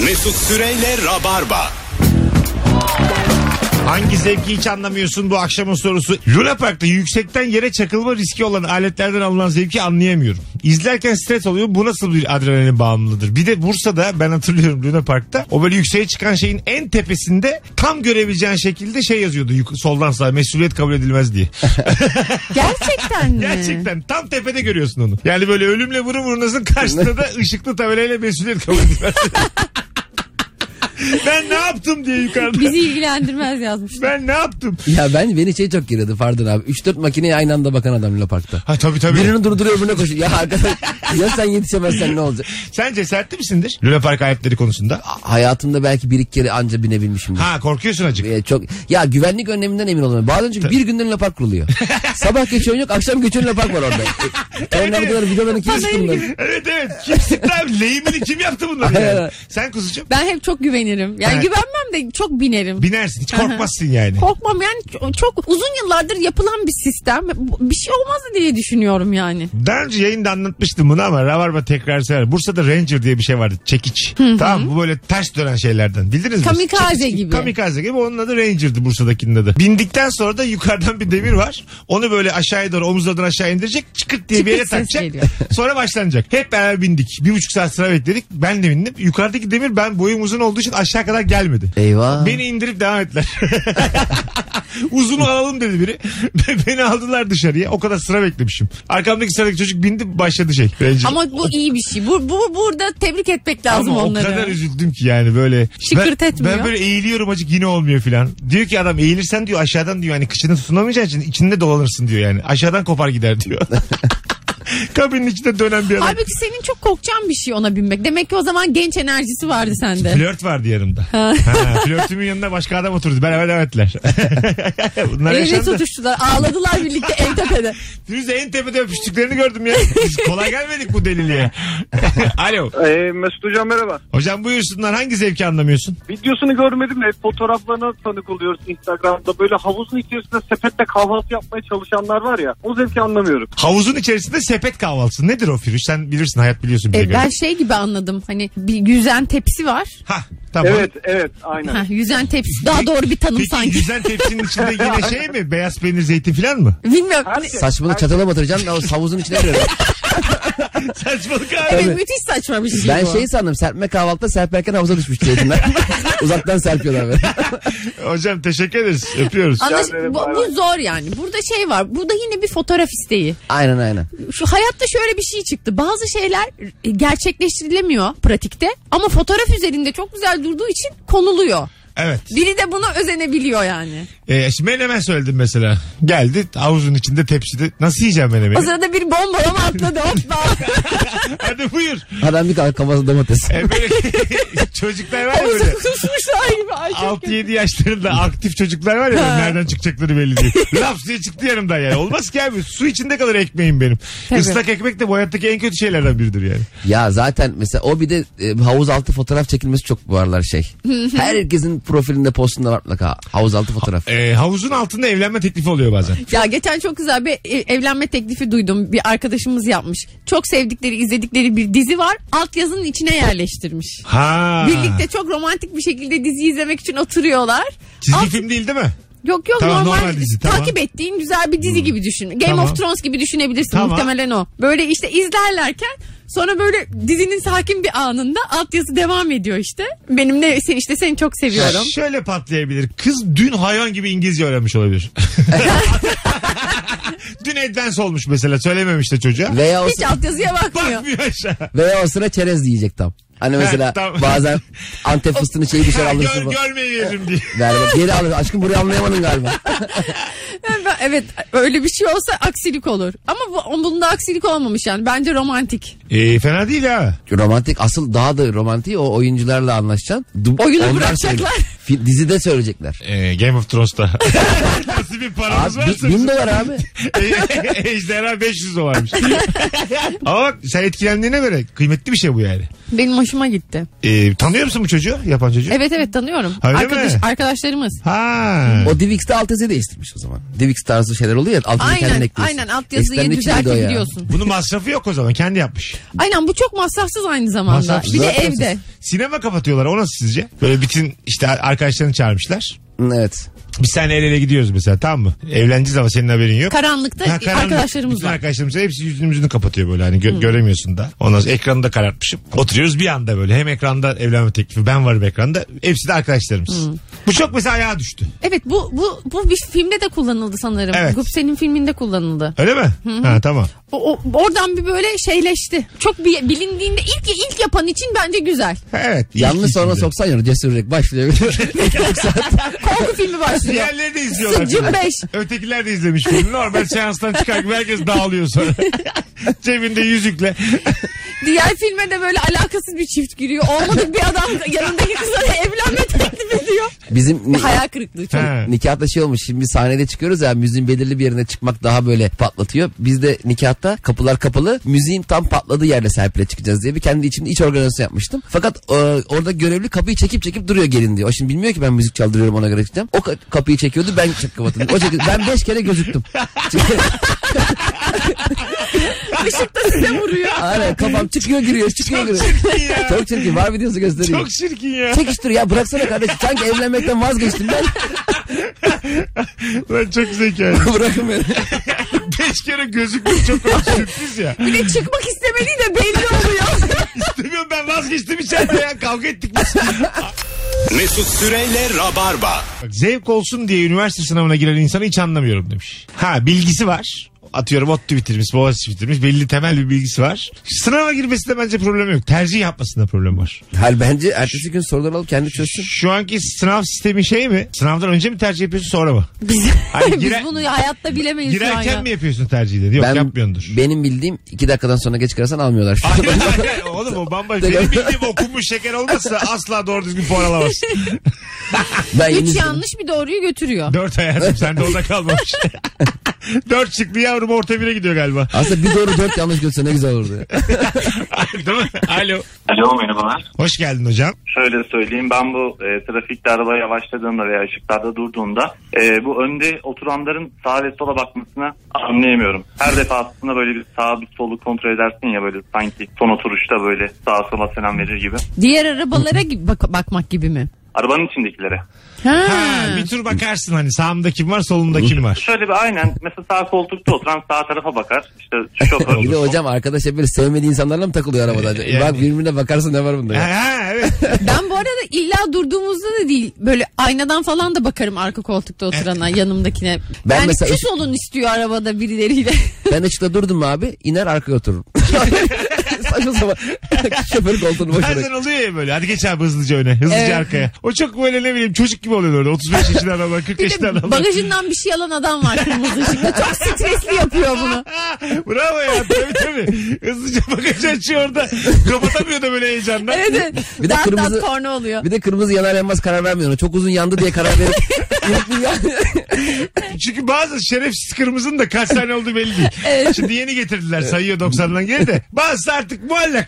S1: Mesut Süreyle Rabarba.
S2: Hangi zevki hiç anlamıyorsun bu akşamın sorusu. Luna Park'ta yüksekten yere çakılma riski olan aletlerden alınan zevki anlayamıyorum. İzlerken stres oluyor. Bu nasıl bir adrenalin bağımlıdır? Bir de Bursa'da ben hatırlıyorum Luna Park'ta. O böyle yükseğe çıkan şeyin en tepesinde tam görebileceğin şekilde şey yazıyordu. yuk- Soldan sağa mesuliyet kabul edilmez diye.
S3: Gerçekten mi?
S2: Gerçekten tam tepede görüyorsun onu. Yani böyle ölümle vurun vurunasın karşısında da ışıklı tabelayla mesuliyet kabul edilmez. ben ne yaptım diye yukarıda.
S3: Bizi ilgilendirmez yazmışlar.
S2: Ben ne yaptım?
S4: ya ben beni şey çok geriyordu pardon abi. 3-4 makineye aynı anda bakan adam Luna Park'ta.
S2: Ha tabii tabii.
S4: Birini durduruyor öbürüne koşuyor. Ya arkadaş ya sen yetişemezsen ne olacak?
S2: Sen cesaretli misindir? Luna Park aletleri konusunda.
S4: Hayatımda belki bir iki kere anca binebilmişim.
S2: Ha korkuyorsun acık.
S4: Ee, çok ya güvenlik önleminden emin olamıyorum. Bazen çünkü bir günden lapak kuruluyor. Sabah geçiyorsun yok, akşam geçiyorsun lapak var orada. Onlar kadar videolarını kim
S3: Panayır
S4: çıktı
S3: gibi.
S2: Evet evet. Kim sıktı abi? Lehimini kim yaptı bunları yani? Sen kuzucuğum
S3: Ben hep çok güvenirim. Yani
S2: Evet.
S3: güvenmem de çok binerim.
S2: binersin. Hiç korkmazsın yani.
S3: Korkmam yani ç- çok uzun yıllardır yapılan bir sistem. Bu- Bir şey olmaz diye düşünüyorum yani.
S2: Daha önce yayında anlatmıştım bunu ama Ravarba tekrar sever. Bursa'da Ranger diye bir şey vardı. Çekiç. tamam bu böyle ters dönen şeylerden. Bildiniz mi?
S3: Kamikaze
S2: Çekiç
S3: gibi.
S2: Kamikaze gibi. Onun adı Ranger'dı Bursa'dakinin adı. Bindikten sonra da yukarıdan bir demir var. Onu böyle aşağıya doğru omuzlardan aşağı indirecek. Çıkırt diye bir yere
S3: Çıkırt ses
S2: takacak.
S3: geliyor.
S2: Sonra başlanacak. Hep beraber bindik. Bir buçuk saat sıra bekledik. Ben de bindim. Yukarıdaki demir ben boyum uzun olduğu için aşağı kadar gelmedi.
S4: Eyvah.
S2: Beni indirip devam ettiler. Uzunu alalım dedi biri. Beni aldılar dışarıya. O kadar sıra beklemişim. Arkamdaki sıradaki çocuk bindi başladı şey. Ranger.
S3: Ama bu iyi bir şey. Bu, bu burada tebrik etmek lazım
S2: Ama
S3: onları.
S2: o kadar üzüldüm ki yani böyle.
S3: Şıkırt
S2: ben,
S3: etmiyor.
S2: Ben böyle eğiliyorum acık yine olmuyor filan. Diyor ki adam eğilirsen diyor aşağıdan diyor hani kıçını tutunamayacağın için içinde dolanırsın diyor yani. Aşağıdan kopar gider diyor. Kabinin içinde dönen bir adam.
S3: Halbuki senin çok korkacağın bir şey ona binmek. Demek ki o zaman genç enerjisi vardı sende.
S2: Flört vardı yanımda. Ha. flörtümün yanında başka adam oturdu. Beraber demettiler. Bunlar
S3: Elini
S2: yaşandı.
S3: tutuştular. Ağladılar birlikte en tepede.
S2: Biz en tepede öpüştüklerini gördüm ya. Biz kolay gelmedik bu deliliğe. Alo.
S7: Ee, Mesut Hocam merhaba.
S2: Hocam buyursunlar hangi zevki anlamıyorsun?
S7: Videosunu görmedim de fotoğraflarına tanık oluyoruz Instagram'da. Böyle havuzun içerisinde sepetle kahvaltı yapmaya çalışanlar var ya. O zevki anlamıyorum.
S2: Havuzun içerisinde sepet kahvaltısı. Nedir o Firuş? Sen bilirsin hayat biliyorsun bize
S3: E,
S2: göre.
S3: ben şey gibi anladım. Hani bir yüzen tepsi var.
S2: Hah tamam.
S7: Evet evet aynen.
S3: Heh, yüzen tepsi. Daha doğru bir tanım
S2: Peki
S3: sanki.
S2: güzel tepsinin içinde yine şey mi? Beyaz peynir zeytin falan mı?
S3: Bilmiyorum.
S7: Her şey.
S4: Saçmalık çatala batıracaksın o havuzun içine giriyor.
S2: Saçmalık abi.
S3: Evet,
S4: Tabii.
S3: müthiş saçma bir şey
S4: ben
S3: bu.
S4: şey sandım serpme kahvaltıda serperken havuza düşmüş zeytinler. Uzaktan serpiyorlar böyle.
S2: Hocam teşekkür ederiz. Öpüyoruz.
S3: Anlaş-
S7: ederim,
S3: bu,
S7: bay
S3: bu zor yani. Burada şey var. Burada yine bir fotoğraf isteği.
S4: aynen aynen.
S3: Şu hayatta şöyle bir şey çıktı. Bazı şeyler e, gerçekleştirilemiyor pratikte ama fotoğraf üzerinde çok güzel durduğu için konuluyor.
S2: Evet.
S3: Biri de buna özenebiliyor yani.
S2: Ee, şimdi menemen söyledim mesela. Geldi havuzun içinde tepside. Nasıl yiyeceğim menemeni?
S3: O sırada bir bombalama atladı. Hoppa.
S2: Hadi buyur.
S4: Adam bir kalk kafası domates.
S2: Ee, böyle çocuklar var ya
S3: Havuzda
S2: böyle.
S3: kusmuşlar gibi. Ay, çok kötü.
S2: 6-7 yaşlarında aktif çocuklar var ya
S3: Ha.
S2: nereden çıkacakları belli değil. Laps diye çıktı yanımdan yani. Olmaz ki abi su içinde kalır ekmeğim benim.
S3: Tabii.
S2: Islak ekmek de bu hayattaki en kötü şeylerden biridir yani.
S4: Ya zaten mesela o bir de e, havuz altı fotoğraf çekilmesi çok bu aralar şey. Herkesin profilinde postunda var mutlaka havuz altı fotoğraf.
S2: Ee, havuzun altında evlenme teklifi oluyor bazen.
S3: Ya geçen çok güzel bir e, evlenme teklifi duydum. Bir arkadaşımız yapmış. Çok sevdikleri, izledikleri bir dizi var. Altyazının içine yerleştirmiş.
S2: Ha.
S3: Birlikte çok romantik bir şekilde dizi izlemek için oturuyorlar.
S2: Çizgi
S3: Alt-
S2: film değil değil mi?
S3: Yok yok
S2: Tamam,
S3: normal,
S2: normal dizi, tamam. Hmm.
S3: takip ettiğin güzel bir dizi gibi düşün. Game
S2: Tamam.
S3: of Thrones gibi düşünebilirsin
S2: Tamam.
S3: muhtemelen o. Böyle işte izlerlerken sonra böyle dizinin sakin bir anında altyazı devam ediyor işte. Benim ne sen işte seni çok seviyorum.
S2: Şöyle patlayabilir. Kız dün hayvan gibi İngilizce öğrenmiş olabilir. dün advance olmuş mesela söylememiş de çocuğa.
S4: Veya o,
S3: Hiç altyazıya bakmıyor.
S2: Bakmıyor aşağı.
S4: veya o sıra çerez diyecek tam. Hani mesela
S2: tamam.
S4: bazen Antep fıstığını şey düşer
S2: Ha,
S4: alırsın.
S2: Gör,
S4: bu-
S2: görmeyi veririm diye.
S4: Ver, ver. geri alır. Aşkım burayı anlayamadın galiba.
S3: Yani ben- evet öyle bir şey olsa aksilik olur. Ama bu, bunda aksilik olmamış yani. Bence romantik.
S2: E, fena değil ha.
S4: romantik asıl daha da romantik o oyuncularla anlaşacaksın. Du-
S3: Oyunu
S4: onlar
S3: bırakacaklar.
S4: söyle- Fi- dizide söyleyecekler.
S2: E, Game of Thrones'ta. Nasıl bir paramız
S4: Abi,
S2: varsa.
S4: bin, bin dolar abi.
S2: E, Ejderha 500 dolarmış. Ama bak sen etkilendiğine göre kıymetli bir şey bu yani.
S3: Benim hoşuma gitti.
S2: E, tanıyor musun bu çocuğu? Yapan çocuğu?
S3: Evet evet tanıyorum.
S2: Öyle
S3: Arkadaş,
S2: mi?
S3: arkadaşlarımız.
S2: Ha.
S4: O Divix'te alt yazı değiştirmiş o zaman. Divix tarzı şeyler oluyor ya. Alt yazı kendin
S3: Aynen
S4: ekliyorsun.
S3: aynen
S4: Eskiden
S3: altyazıyı
S4: de kimdi o ya?
S3: düzeltebiliyorsun.
S2: Bunun masrafı yok o zaman. Kendi yapmış.
S3: Aynen bu çok masrafsız aynı zamanda.
S2: Masrafsız.
S3: Bir de
S4: Zaten
S3: evde.
S2: Sinema kapatıyorlar. O nasıl sizce? Böyle bütün işte arkadaşlarını çağırmışlar.
S4: Hı, Evet.
S2: Biz seninle el ele gidiyoruz mesela tamam mı? Evleneceğiz ama senin haberin yok.
S3: Karanlıkta
S2: Ha, karanlık.
S3: arkadaşlarımız
S2: Bütün
S3: var. Hmm.
S2: arkadaşlarımız var. hepsi yüzümüzünü kapatıyor böyle hani gö- göremiyorsun da. Ondan sonra ekranı da karartmışım. Oturuyoruz bir anda böyle hem ekranda evlenme teklifi ben varım ekranda. Hepsi de arkadaşlarımız.
S3: Hmm.
S2: Bu çok mesela ayağa düştü.
S3: Evet bu bu bu bir filmde de kullanıldı sanırım.
S2: Evet.
S3: Gupse'nin filminde kullanıldı.
S2: Öyle mi?
S3: Hmm.
S2: Ha tamam.
S3: O, o- oradan bir böyle şeyleşti. Çok bi- bilindiğinde ilk ilk yapan için bence güzel.
S2: Evet.
S4: Yanlış
S2: İlk
S4: sonra
S2: içinde.
S4: soksan ya cesur yürek başlıyor.
S3: Korku filmi başlıyor.
S2: Diğerleri de izliyorlar.
S3: Sıccım
S2: filmi.
S3: beş.
S2: Ötekiler de izlemiş filmi. Normal seanstan çıkarken herkes dağılıyor sonra. Cebinde yüzükle.
S3: Diğer filme de böyle alakasız bir çift giriyor. Olmadı bir adam yanındaki kıza da evlenme teklif ediyor.
S4: Bizim
S3: Bir
S4: ni-
S3: hayal kırıklığı çok.
S2: Ha.
S4: nikahta şey olmuş. Şimdi sahnede çıkıyoruz ya müziğin belirli bir yerine çıkmak daha böyle patlatıyor. Biz de nikahta kapılar kapalı. Müziğin tam patladığı yerle serpile çıkacağız diye bir kendi içimde iç organizasyon yapmıştım. Fakat e, orada görevli kapıyı çekip çekip duruyor gelin diyor. O şimdi bilmiyor ki ben müzik çaldırıyorum ona göre çıkacağım. O ka- kapıyı çekiyordu ben çek kapatın. O çekiyordu. Ben beş kere gözüktüm.
S3: Işık da size vuruyor.
S4: Aynen kafam çıkıyor giriyor çıkıyor
S2: Çok
S4: giriyor.
S2: çirkin ya.
S4: Çok çirkin var videosu gösteriyor.
S2: Çok çirkin ya.
S4: Çekiştir ya bıraksana kardeşim. Sanki evlenmekten vazgeçtim ben.
S2: Lan çok zeka.
S4: Bırakın beni.
S2: Beş kere gözüktüm çok komik sürpriz ya.
S3: Bir de çıkmak istemediği de belli oluyor.
S2: İstemiyorum ben vazgeçtim içeride ya. Kavga ettik biz.
S1: Mesut Süreyle Rabarba.
S2: Bak, zevk olsun diye üniversite sınavına giren insanı hiç anlamıyorum demiş. Ha bilgisi var. Atıyorum ODTÜ bitirmiş, Boğaziçi bitirmiş. Belli temel bir bilgisi var. Sınava girmesinde bence problem yok. Tercih yapmasında problem var.
S4: Hayır bence ertesi gün soruları alıp kendi çözsün.
S2: Şu anki sınav sistemi şey mi? Sınavdan önce mi tercih yapıyorsun sonra mı?
S3: Biz,
S2: Hayır,
S3: biz
S2: girer-
S3: bunu hayatta bilemeyiz şu an ya.
S2: Girerken mi yapıyorsun tercihleri? Yok yapmıyordur.
S4: Benim bildiğim iki dakikadan sonra geç kalırsan almıyorlar.
S2: Hayır, hayır, Oğlum o bambaşka. Benim bildiğim okunmuş şeker olmazsa asla doğru düzgün puan alamazsın.
S4: ben
S3: Üç
S4: yeni-
S3: yanlış bir doğruyu götürüyor.
S2: Dört hayatım sen de orada kalmamış. Dört çıktı yavrum orta bire gidiyor galiba.
S4: Aslında bir doğru dört yanlış götürse ne güzel olurdu.
S2: Değil mi? Alo.
S5: Alo merhabalar.
S2: Hoş geldin hocam.
S5: Şöyle söyleyeyim ben bu e, trafikte araba yavaşladığında veya ışıklarda durduğunda e, bu önde oturanların sağa ve sola bakmasını anlayamıyorum. Her defasında böyle bir sağa bir solu kontrol edersin ya böyle sanki son oturuşta böyle sağa sola selam verir gibi.
S3: Diğer arabalara gibi bak- bakmak gibi mi?
S5: Arabanın içindekilere.
S3: Ha.
S2: Ha, bir tur bakarsın hani sağımda kim var solumda kim var.
S5: Şöyle bir aynen mesela sağ koltukta oturan sağ tarafa bakar. İşte şoför.
S4: bir de hocam arkadaş hep böyle sevmediği insanlarla mı takılıyor arabada? acaba?
S2: Yani-
S4: Bak birbirine bakarsın ne var bunda
S2: Ha,
S4: ya.
S2: ha, evet.
S3: Ben bu arada illa durduğumuzda da değil böyle aynadan falan da bakarım arka koltukta oturana yanımdakine. Ben
S4: Ben
S3: yani
S4: mesela-
S3: küs olun istiyor arabada birileriyle.
S4: ben ışıkta durdum abi iner arkaya otururum. Saçma sapan. Şoför koltuğunu boş
S2: Bazen
S4: bırak.
S2: oluyor ya böyle. Hadi geç abi hızlıca öne. Hızlıca
S3: Evet.
S2: arkaya. O çok böyle ne bileyim çocuk gibi oluyor orada. 35 yaşında adam var, 40
S3: Bir
S2: yaşında
S3: de
S2: adam var.
S3: bagajından bir şey alan adam var kırmızı ışıkta. Çok stresli yapıyor bunu.
S2: Ha, Bravo ya tabii tabii. Hızlıca bagajı açıyor orada. Kapatamıyor da böyle heyecandan.
S3: Evet evet.
S4: Bir de
S3: Dart dart
S4: kırmızı-
S3: korna oluyor.
S4: Bir de kırmızı yanar yanmaz karar vermiyor. Çok uzun yandı diye karar verip.
S2: Çünkü bazı şerefsiz kırmızının da kaç tane olduğu belli değil. Şimdi yeni getirdiler sayıyor 90'dan geri de. Bazısı artık muallak.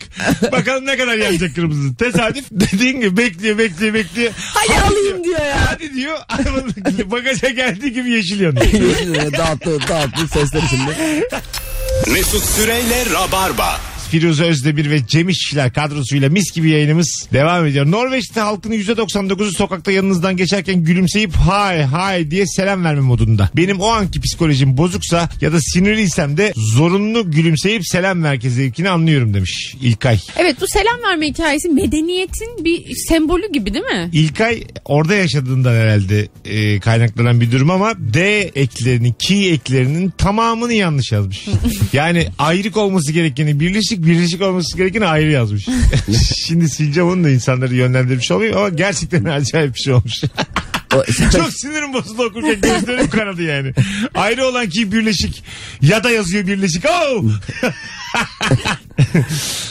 S2: Bakalım ne kadar yanacak kırmızı. Tesadüf dediğin gibi bekliyor bekliyor bekliyor.
S3: Hadi alayım diyor ya.
S2: Hadi diyor arabanın bagaja geldiği gibi yeşil yanıyor.
S4: Yeşil dağıttı dağıttı sesler içinde.
S1: Mesut Süreyle Rabarba.
S2: Firuze Özdemir ve Cem İşçiler kadrosuyla mis gibi yayınımız devam ediyor. Norveç'te halkının %99'u sokakta yanınızdan geçerken gülümseyip hay hay diye selam verme modunda. Benim o anki psikolojim bozuksa ya da sinirliysem de zorunlu gülümseyip selam verme zevkini anlıyorum demiş İlkay.
S3: Evet bu selam verme hikayesi medeniyetin bir sembolü gibi değil mi?
S2: İlkay orada yaşadığından herhalde e, kaynaklanan bir durum ama D eklerini, ki eklerinin tamamını yanlış yazmış. yani ayrık olması gerekeni birleşik, birleşik olması gerekeni ayrı yazmış. Şimdi sileceğim onu da insanları yönlendirmiş olmayayım ama gerçekten acayip bir şey olmuş.
S4: O-
S2: Çok sinirim bozuldu okurken gözlerim kanadı yani. Ayrı olan ki birleşik ya da yazıyor birleşik. Oh!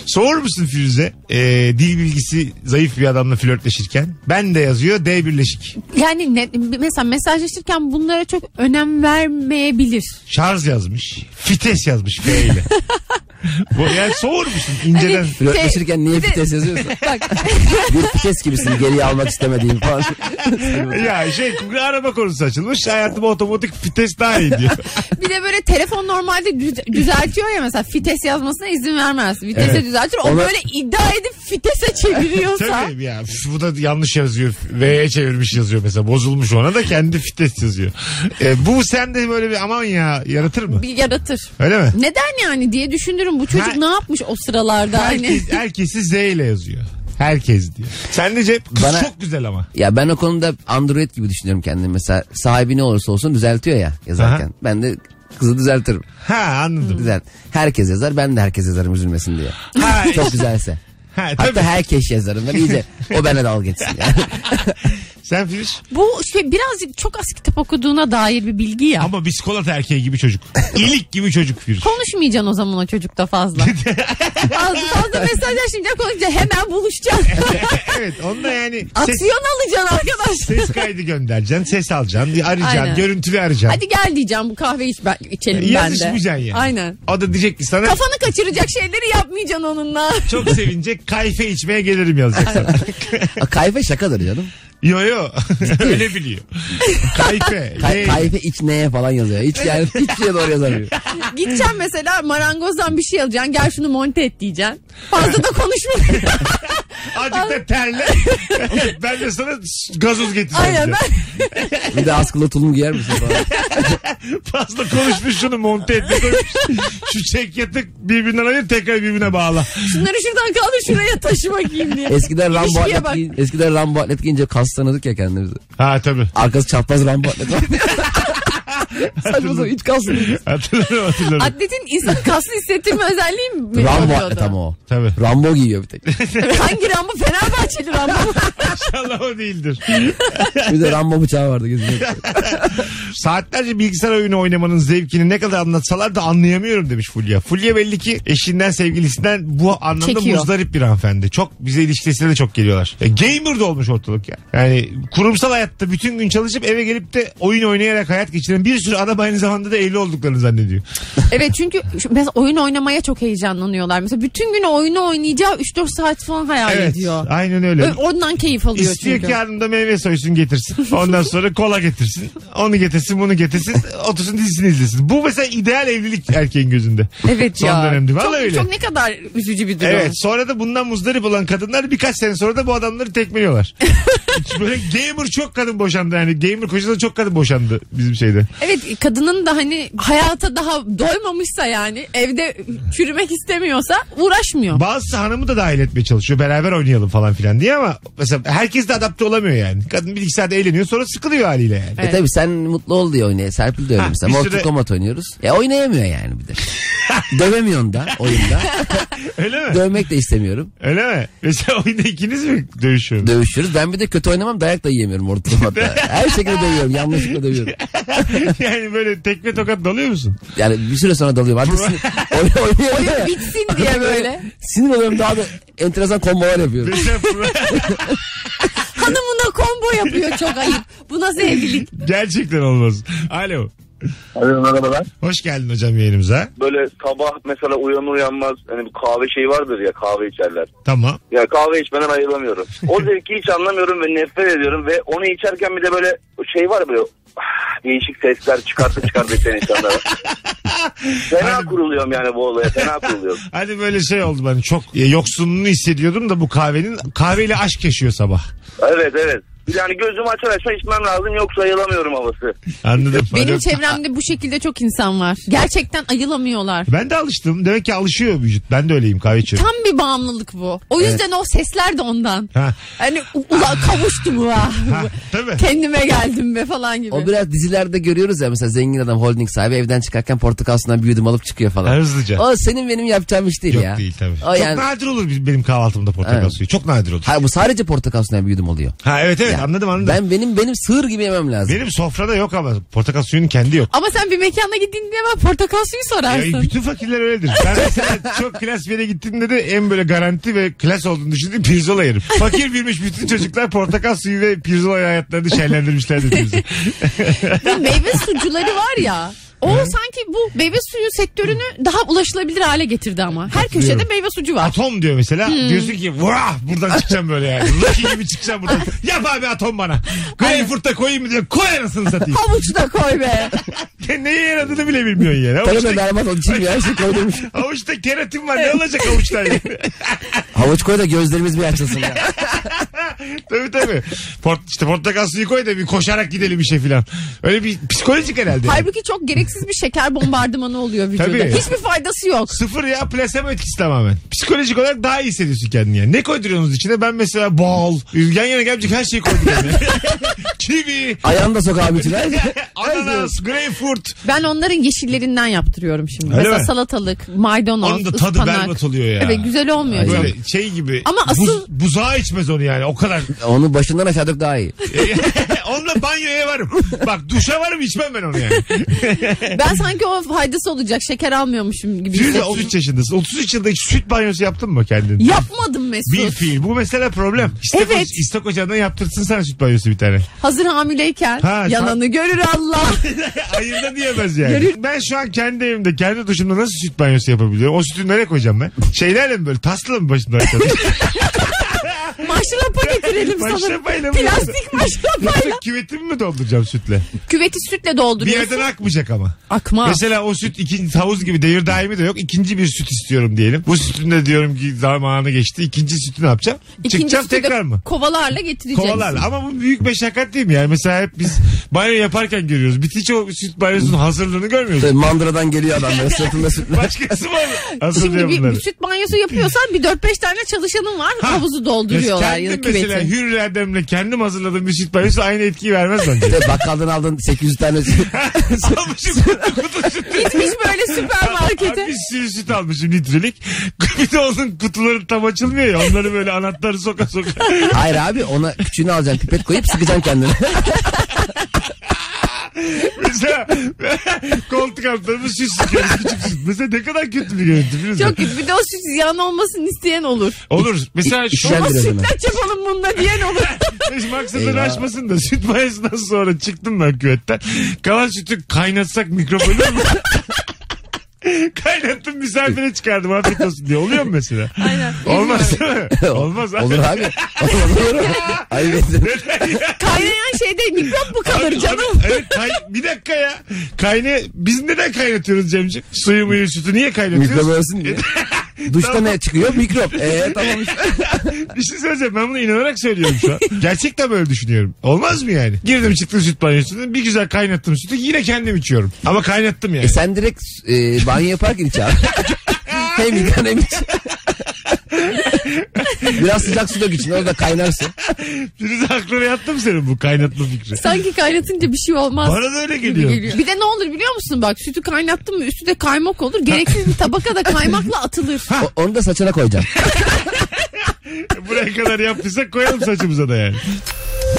S2: Soğur musun Firuze? Ee, dil bilgisi zayıf bir adamla flörtleşirken. Ben de yazıyor D birleşik.
S3: Yani ne, mesela mesajlaşırken bunlara çok önem vermeyebilir.
S2: Şarj yazmış. Fites yazmış F ile. Bu yani soğur musun inceden?
S4: Flörtleşirken niye vites yazıyorsun?
S3: Bak
S4: Bir vites gibisin geriye almak istemediğim falan.
S2: ya şey araba konusu açılmış. Hayatım otomatik fites daha iyi diyor.
S3: bir de böyle telefon normalde düz- düzeltiyor ya mesela fites yazmasına izin vermez. Vitese
S4: Evet.
S3: düzeltir. O
S4: Ona-
S3: böyle iddia edip fitese çeviriyorsa.
S2: Tabii ya. Üf, Bu da yanlış yazıyor. V'ye çevirmiş yazıyor mesela. Bozulmuş ona da kendi fites yazıyor. E, bu sende böyle bir aman ya yaratır mı?
S3: bir yaratır.
S2: Öyle mi?
S3: Neden yani diye düşünürüm. Bu çocuk
S2: Her-
S3: ne yapmış o sıralarda hani.
S2: Herkes, herkesi Z ile yazıyor. Herkes diyor. Sen de Cep kız
S4: Bana-
S2: çok güzel ama.
S4: Ya ben o konuda Android gibi düşünüyorum kendimi. Mesela sahibi ne olursa olsun düzeltiyor ya yazarken.
S2: Aha.
S4: Ben de kızı düzeltirim.
S2: Ha anladım.
S4: Düzelt. Herkes yazar ben de herkes yazarım üzülmesin diye.
S2: Ha,
S4: Çok güzelse.
S2: ha, E, tabii.
S4: Hatta herkes yazarım ben iyice o bana dalga geçsin yani.
S2: Sen Filiz.
S3: Bu şey birazcık çok az kitap okuduğuna dair bir bilgi ya.
S2: Ama bisiklet erkeği gibi çocuk. İlik gibi çocuk Filiz.
S3: Konuşmayacaksın o zaman o çocukta fazla. fazla, fazla mesajlaşmayacak konuşacaksın. Hemen buluşacaksın.
S2: Şey- evet onda yani ses,
S3: Aksiyon alacaksın arkadaş.
S2: ses kaydı göndereceksin. Ses alacaksın. Arayacaksın.
S3: Aynen.
S2: Görüntülü arayacaksın.
S3: Hadi gel diyeceğim bu kahve iç, ben, içelim ben de.
S2: Yazışmayacaksın yani.
S3: Aynen.
S2: O da diyecek ki sana
S3: Kafanı kaçıracak şeyleri yapmayacaksın onunla.
S2: çok sevince kayfe içmeye gelirim yazacak sana.
S4: A, Kayfe şakadır canım.
S2: yo yo. Öyle biliyor. Kayfe.
S4: Kay,
S2: Ye-
S4: kayfe iç neye falan yazıyor. Hiç yani hiçbir şeye doğru yazamıyor.
S3: Gideceksin mesela marangozdan bir şey alacaksın. Gel şunu monte et diyeceksin. Fazla da konuşma.
S2: Azıcık da terle. ben de sana gazoz getireceğim.
S3: Aynen ben
S4: Bir de askılı tulum giyer misin falan.
S2: Fazla konuşmuş şunu monte etme koymuş. Şu çek yatık birbirinden ayır tekrar birbirine bağla.
S3: şunları şuradan kaldır şuraya taşıma giyeyim diye.
S4: Eskiden Rambo
S3: İlişkiye
S4: atlet,
S3: bak.
S4: giyin- eskiden Rambo atlet giyince kaslanırdık ya kendimizi.
S2: Ha tabii.
S4: Arkası çapraz Rambo atlet. Saçma sapan hiç kalsın.
S2: Hatırlarım hatırlarım.
S3: Atletin insanı kaslı hissettirme özelliği mi?
S4: Rambo e,
S3: oluyordu?
S4: atlet ama o.
S2: Tabii.
S4: Rambo giyiyor bir tek.
S3: Hangi Rambo? Fenerbahçeli Rambo.
S2: İnşallah o değildir.
S4: Bir de Rambo bıçağı vardı gözümde.
S2: Saatlerce bilgisayar oyunu oynamanın zevkini ne kadar anlatsalar da anlayamıyorum demiş Fulya. Fulya belli ki eşinden sevgilisinden bu anlamda
S3: Çekiyor.
S2: muzdarip bir hanımefendi. Çok bize ilişkisine de çok geliyorlar. E, gamer de olmuş ortalık ya. Yani kurumsal hayatta bütün gün çalışıp eve gelip de oyun oynayarak hayat geçiren bir sürü adam aynı zamanda da evli olduklarını zannediyor.
S3: evet çünkü şu- mesela oyun oynamaya çok heyecanlanıyorlar. Mesela bütün gün oyunu oynayacağı 3-4 saat falan hayal
S2: Evet.
S3: ediyor.
S2: Aynen öyle.
S3: Ö- Ondan keyif alıyor
S2: İstiyor
S3: çünkü.
S2: ki hanımda meyve soysun getirsin. Ondan sonra kola getirsin. Onu getirsin bunu getirsin. Otursun dizisini izlesin. Bu mesela ideal evlilik erkeğin gözünde.
S3: Evet
S2: Son
S3: ya.
S2: dönemde. Vallahi
S3: çok,
S2: öyle.
S3: çok ne kadar üzücü bir durum.
S2: Evet sonra da bundan muzdarip olan kadınlar birkaç sene sonra da bu adamları tekmeliyorlar. Hiç Böyle gamer çok kadın boşandı yani gamer kocasından çok kadın boşandı bizim şeyde.
S3: Evet kadının da hani hayata daha doymamışsa yani evde çürümek istemiyorsa uğraşmıyor.
S2: Bazısı hanımı da dahil etmeye çalışıyor beraber oynayalım falan filan diye ama mesela herkes de adapte olamıyor yani. Kadın bir iki saat eğleniyor sonra sıkılıyor haliyle yani.
S4: E tabi sen mutlu ol diye oynaya. Serpil de öyle
S2: Ha,
S4: mesela.
S2: bir
S4: Mortal
S2: süre-
S4: Kombat oynuyoruz. E oynayamıyor yani bir de. Dövemiyorsun da oyunda.
S2: Öyle mi?
S4: Dövmek de istemiyorum.
S2: Öyle mi? Mesela oyunda ikiniz mi dövüşüyorsunuz?
S4: Dövüşüyoruz. Ben bir de kötü oynamam dayak da yiyemiyorum Mortal Kombat'ta. Her şekilde dövüyorum. Yanlışlıkla dövüyorum.
S2: yani böyle tekme tokat dalıyor musun?
S4: Yani bir süre sonra dalıyorum. Artık sinir, oyn- oynayamıyorum.
S3: Oyun bitsin diye böyle.
S4: Sinir oluyorum daha da enteresan kombolar yapıyorum.
S2: Mesela
S3: Hanımına combo yapıyor çok ayıp. Bu nasıl evlilik?
S2: gerçekten olmaz. Alo.
S8: Merhabalar.
S2: Hoş geldin hocam yayınımıza.
S8: Böyle sabah mesela uyanır uyanmaz hani bu kahve şeyi vardır ya kahve içerler.
S2: Tamam.
S8: Ya kahve içmeden ayrılamıyorum. O zevki hiç anlamıyorum ve nefret ediyorum ve onu içerken bir de böyle şey var ya böyle ah, değişik sesler çıkartı çıkartı içen insanlara. Fena kuruluyorum yani bu olaya. Fena kuruluyorum.
S2: Hani böyle şey oldu ben çok e, yoksunluğunu hissediyordum da bu kahvenin kahveyle aşk yaşıyor sabah.
S8: Evet evet. Yani gözümü açar açar içmem lazım yoksa ayılamıyorum havası.
S2: Anladım.
S3: Benim
S2: Hani-
S3: çevremde bu şekilde çok insan var. Gerçekten ayılamıyorlar.
S2: Ben de alıştım. Demek ki alışıyor vücut. Ben de öyleyim kahve içiyorum.
S3: Tam bir bağımlılık bu. O yüzden o sesler de ondan.
S2: Ha.
S3: Hani u- ulan kavuştum ha.
S2: Ha, tabii.
S3: Kendime geldim be falan gibi.
S4: O biraz dizilerde görüyoruz ya mesela zengin adam holding sahibi evden çıkarken portakal sudan bir yudum alıp çıkıyor falan.
S2: Hızlıca.
S4: O senin benim yapacağım iş değil
S2: Yok
S4: ya.
S2: değil tabii.
S4: O yani,
S2: Çok nadir olur benim kahvaltımda portakal
S4: Evet.
S2: suyu. Çok nadir olur. Ha,
S4: Hayır bu sadece portakal sudan bir yudum oluyor.
S2: evet evet
S4: Ya,
S2: anladım anladım.
S4: Ben benim benim sığır gibi yemem lazım.
S2: Benim sofrada yok ama portakal suyunun kendi yok.
S3: Ama sen bir mekana gittiğinde hemen portakal suyu
S2: Ya,
S3: sorarsın.
S2: bütün fakirler öyledir. Ben mesela çok klas bir yere gittiğimde de en böyle garanti ve klas olduğunu düşündüğüm pirzola yerim. Fakir birmiş bütün çocuklar portakal suyu ve pirzola hayatlarını şenlendirmişlerdir bizi.
S3: Ve meyve sucuları var ya. O sanki bu meyve suyu sektörünü daha ulaşılabilir hale getirdi ama. Her köşede meyve sucu var.
S2: Atom diyor mesela. Diyorsun ki vah buradan çıkacağım böyle yani. Lucky gibi çıkacağım buradan. Yap abi atom bana. Greyfurt da koyayım mı diyor. Koy anasını satayım.
S3: Havuç da koy be.
S2: Neye yaradığını bile bilmiyorsun yani.
S4: Tarım
S2: Havuçta,
S4: berbat oldu. Çim ya şey koydurmuş.
S2: havuçta keratin var. Ne olacak havuçtan yani?
S4: Havuç koy da gözlerimiz bir açılsın ya.
S2: tabii tabii. Port, işte portakal suyu koy da bir koşarak gidelim işe filan. Öyle bir psikolojik herhalde.
S3: Halbuki çok gereksiz bir şeker bombardımanı oluyor vücuda.
S2: Tabii.
S3: Hiçbir faydası yok.
S2: Sıfır ya plasebo etkisi tamamen. Psikolojik olarak daha iyi hissediyorsun kendini yani. Ne koyduruyorsunuz içine? Ben mesela bal, yan yana gelecek her şeyi koyduruyorum. yani. Kivi,
S4: Ayağını da sok abi için. Her-
S2: ananas, greyfurt.
S3: Ben onların yeşillerinden yaptırıyorum şimdi.
S2: Öyle
S3: Mesela
S2: mi?
S3: salatalık, maydanoz,
S2: Onun da tadı
S3: ıspanak.
S2: berbat oluyor ya.
S3: Evet güzel olmuyor. canım.
S2: Böyle şey gibi.
S3: Ama asıl-
S2: buzağa içmez onu yani o kadar.
S4: Onu başından aşağı dök daha iyi.
S2: Onunla banyoya varım. Bak duşa varım içmem ben onu yani.
S3: Ben sanki o faydası olacak şeker almıyormuşum gibi.
S2: Firuze
S3: hissediyorum.
S2: 33 yaşındasın. 33 yılda hiç süt banyosu yaptın mı kendin?
S3: Yapmadım Mesut.
S2: Bir fiil. Bu mesela problem. İstek,
S3: Evet.
S2: istek ocağından yaptırsın sana süt banyosu bir tane.
S3: Hazır hamileyken
S2: Ha,
S3: yananı görür Allah.
S2: Hayır da diyemez yani.
S3: Görür-
S2: Ben şu an kendi evimde, kendi duşumda nasıl süt banyosu yapabiliyorum? O sütü nereye koyacağım ben? Şeylerle mi böyle? Tasla mı başımdan aşağı?
S3: maşrapa getirelim sana.
S2: Maşrapayla mı?
S3: Plastik maşrapayla.
S2: Yoksa küvetimi mi dolduracağım sütle?
S3: Küveti sütle
S2: Bir
S3: dolduruyorsun.
S2: yerden akmayacak ama.
S3: Akma.
S2: Mesela o süt ikinci havuz gibi devir daimi de yok. İkinci bir süt istiyorum diyelim. Bu sütün de diyorum ki zamanı geçti. İkinci sütü ne yapacağım? Çıkacağım
S3: sütü de
S2: tekrar mı?
S3: Kovalarla getireceksin.
S2: Kovalarla. Ama bu büyük meşakkat değil mi? Yani mesela hep biz banyo yaparken görüyoruz. Biz hiç o süt banyosunun hazırlığını görmüyoruz.
S4: Tabii Mandıradan geliyor adam böyle sırtında sütle.
S2: Başkası var mı? Hazırlıyor
S3: Şimdi bir,
S2: bunları.
S3: bir süt banyosu yapıyorsan bir 4-5 tane çalışanın var
S2: Ha.
S3: havuzu dolduruyorlar ya da
S2: Kendim mesela
S3: küveti.
S2: Hürri Erdem'le kendim hazırladığım bir süt banyosu aynı etkiyi vermez bence.
S4: Ve bakkaldan aldın 800 tane süt.
S2: Almışım kutu kutu sütü.
S3: Gitmiş böyle
S2: Abi
S3: süpermarkete.
S2: Bir sürü süt almışım litrelik. Bir de onun kutuları tam açılmıyor ya. Onları böyle anahtarı soka soka.
S4: Hayır abi ona küçüğünü alacaksın pipet koyup sıkacaksın kendine.
S2: Mesela koltuk altlarını süt sıkıyoruz. Küçük süt. Mesela ne kadar kötü bir görüntü. biliyor musun?
S3: Çok kötü. Bir de o süt ziyan olmasını isteyen olur.
S2: Olur. Mesela şu
S4: İşler-
S3: Ama
S4: Kendine dönem.
S3: sütlaç yapalım bunda diyen olur.
S2: Hiç maksadını
S4: Eyvah.
S2: aşmasın da süt mayasından sonra çıktım ben küvetten. Kalan sütü kaynatsak mikrofonu mu? Kaynattım misafire çıkardım afiyet olsun diye. Oluyor mu mesela? Aynen. Olmaz değil mi? Olmaz abi.
S4: Olur abi. Olur olur. Ayıp ettin.
S3: Kaynayan şeyde mikrop mu kalır canım?
S2: Evet, kay- bir dakika ya. Kayna biz neden kaynatıyoruz Cemciğim? Suyu muyu sütü niye
S4: Mikrop
S2: kaynatıyoruz?
S4: olsun diye. Duşta ne çıkıyor? Mikrop. Eee tamam işte.
S2: bir şey söyleyeceğim ben buna inanarak söylüyorum şu an. Gerçekten böyle düşünüyorum. Olmaz mı yani? Girdim çıktım süt banyosundan bir güzel kaynattım sütü yine kendim içiyorum. Ama kaynattım yani.
S4: E sen direkt e, banyo yaparken iç abi. hem yıkan hem iç. Biraz sıcak su dök için orada kaynarsın.
S2: Firuze aklına yattı mı senin bu kaynatma fikri?
S3: Sanki kaynatınca bir şey olmaz.
S2: Bana da öyle
S3: gibi
S2: geliyor.
S3: Bir de ne olur biliyor musun bak sütü kaynattın mı üstü de kaymak olur. Gereksiz bir tabaka da kaymakla atılır.
S4: O- onu da saçına koyacaksın.
S2: Buraya kadar yaptıysak koyalım saçımıza da yani.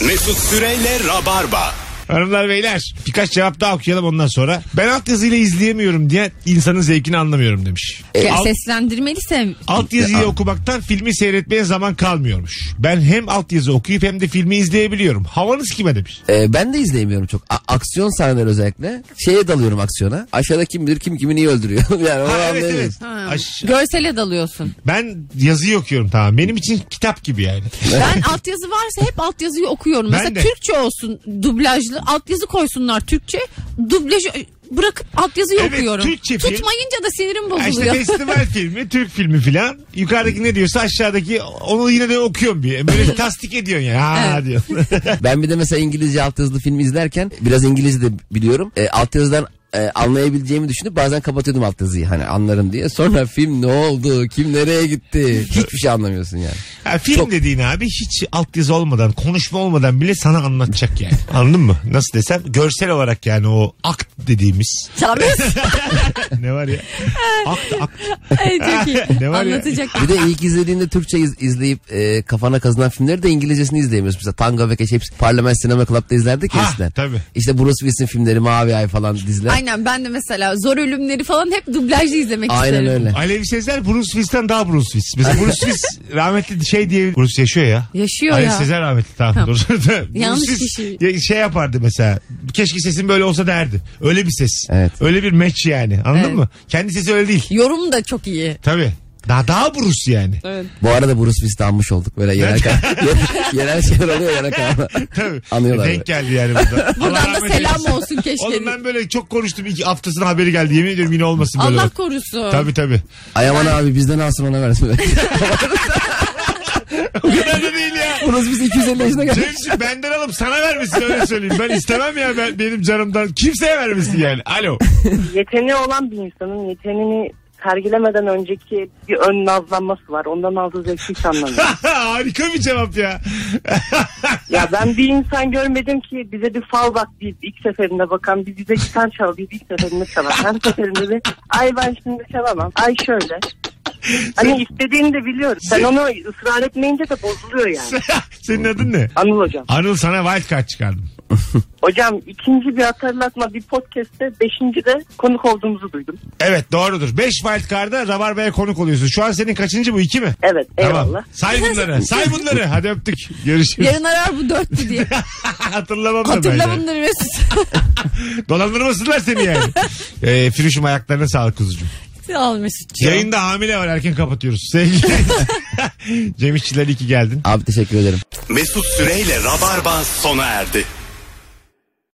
S1: Mesut Süreyle Rabarba.
S2: Hanımlar beyler birkaç cevap daha okuyalım ondan sonra. Ben altyazıyla izleyemiyorum diye insanın zevkini anlamıyorum demiş.
S3: Ya,
S2: Alt-
S3: Seslendirmeli sev.
S2: Altyazıyı okumaktan filmi seyretmeye zaman kalmıyormuş. Ben hem altyazı okuyup hem de filmi izleyebiliyorum. Havanız kime demiş.
S4: E, ben de izleyemiyorum çok. A- aksiyon sahneleri özellikle. Şeye dalıyorum aksiyona. Aşağıda kim bilir kim kimi niye öldürüyor. yani onu
S2: Ha, evet
S4: anlayamıyorum.
S2: evet.
S3: Ha,
S2: Aş-
S3: Görsele dalıyorsun.
S2: ben yazıyı okuyorum tamam. Benim için kitap gibi yani.
S3: Ben altyazı varsa hep altyazıyı okuyorum.
S2: Ben
S3: Mesela
S2: de.
S3: Türkçe olsun dublajlı altyazı koysunlar Türkçe. Dublaj bırakıp altyazıyı
S2: Evet,
S3: okuyorum.
S2: Türkçe film.
S3: Tutmayınca da sinirim
S2: Ha İşte
S3: bozuluyor.
S2: festival filmi, Türk filmi filan. Yukarıdaki ne diyorsa aşağıdaki onu yine de okuyorum bir. Böyle bir tasdik ediyorsun ya. Ha
S3: Evet.
S2: diyorsun.
S4: Ben bir de mesela İngilizce altyazılı film izlerken biraz İngilizce de biliyorum. E, altyazıdan e, anlayabileceğimi düşünüp bazen kapatıyordum altyazıyı hani anlarım diye. Sonra film ne oldu? Kim nereye gitti? Hiçbir şey anlamıyorsun yani.
S2: Ha, film
S4: Çok-
S2: dediğin abi hiç altyazı olmadan, konuşma olmadan bile sana anlatacak yani. Anladın mı? Nasıl desem görsel olarak yani o akt dediğimiz.
S3: Çalamıyorsun.
S2: ne var ya? Akt, akt.
S3: Ay, çok iyi.
S2: Ne var ya?
S3: Anlatacak.
S4: Bir de ilk izlediğinde Türkçe iz- izleyip e, kafana kazınan filmleri de İngilizcesini izleyemiyorsun. Mesela Tango ve Keş hepsi Parlament Sinema Club'da izlerdik ya
S2: Ha,
S4: eskiden.
S2: tabii.
S4: İşte Bruce Willis'in filmleri Mavi Ay falan diziler. Aynen,
S3: Aynen ben de mesela zor ölümleri falan hep dublajlı izlemek isterim.
S4: öyle.
S2: Alevi Sezer Bruce Willis'ten daha Bruce Willis. Mesela Bruce Willis rahmetli şey diye Bruce yaşıyor ya.
S3: Yaşıyor
S2: Alevi
S3: ya.
S2: Sezer rahmetli tamam.
S3: Tamam.
S2: Dur. Bruce
S3: Yanlış
S2: Willis
S3: kişi.
S2: ya- Şey yapardı mesela. Keşke sesin böyle olsa derdi. Öyle bir ses.
S4: Evet.
S2: Öyle bir meç yani. Anladın
S3: Evet.
S2: mı? Kendi sesi öyle değil.
S3: Yorum da çok iyi.
S2: Tabii. Daha daha Bruce yani.
S4: Bu arada Bruce Willis'i anmış olduk. Böyle yerel, yerel şeyler şey oluyor yerel kanalda.
S2: Tabii.
S4: Anlıyorlar
S2: Denk
S4: böyle.
S2: geldi yani burada.
S3: Buradan
S2: Allah
S3: da
S2: rahmet
S3: selam
S2: eylesin.
S3: olsun keşke.
S2: Oğlum ben böyle çok konuştum. İki haftasına haberi geldi. Yemin ediyorum yine olmasın böyle.
S3: Allah
S2: bak.
S3: korusun.
S2: Tabii tabii.
S4: Ayaman abi bizden alsın ona versin.
S2: O kadar da değil ya.
S4: Bruce Willis 250 yaşına geldi.
S2: Cemciğim benden alıp sana vermesin öyle söyleyeyim. Ben istemem ya ben, benim canımdan. Kimseye vermesin yani. Alo.
S9: yeteneği olan bir insanın yeteneğini sergilemeden önceki bir ön nazlanması var. Ondan aldığı zevki hiç anlamıyorum.
S2: Harika bir cevap ya.
S9: ya ben bir insan görmedim ki bize bir fal bak deyip ilk seferinde bakan bir bize gitar çal deyip ilk seferinde çalan. Her seferinde de ay ben şimdi çalamam. Ay şöyle. Hani istediğini de biliyorum. Sen onu ısrar etmeyince de bozuluyor yani.
S2: Senin adın ne?
S9: Anıl hocam.
S2: Anıl sana wildcard çıkardım.
S9: Hocam ikinci bir hatırlatma bir podcast'te beşinci de konuk olduğumuzu duydum.
S2: Evet doğrudur. 5 wildcard'a Rabarba'ya konuk oluyorsun. Şu an senin kaçıncı bu? 2 mi?
S9: Evet eyvallah.
S2: Tamam. Say bunları. Say bunları. Hadi öptük. Görüşürüz.
S3: Yarın arar bu dörtlü diye.
S2: Hatırlamam da ben.
S3: Hatırla
S2: yani.
S3: bunları Mesut.
S2: Dolandırmasınlar seni yani. ee, Firuş'um ayaklarına sağlık kuzucuğum.
S3: Al Mesut'cuğum.
S2: Yayında hamile var erken kapatıyoruz. Sevgili Cem İşçiler iyi ki geldin.
S4: Abi teşekkür ederim.
S1: Mesut Süreyle Rabarba sona erdi.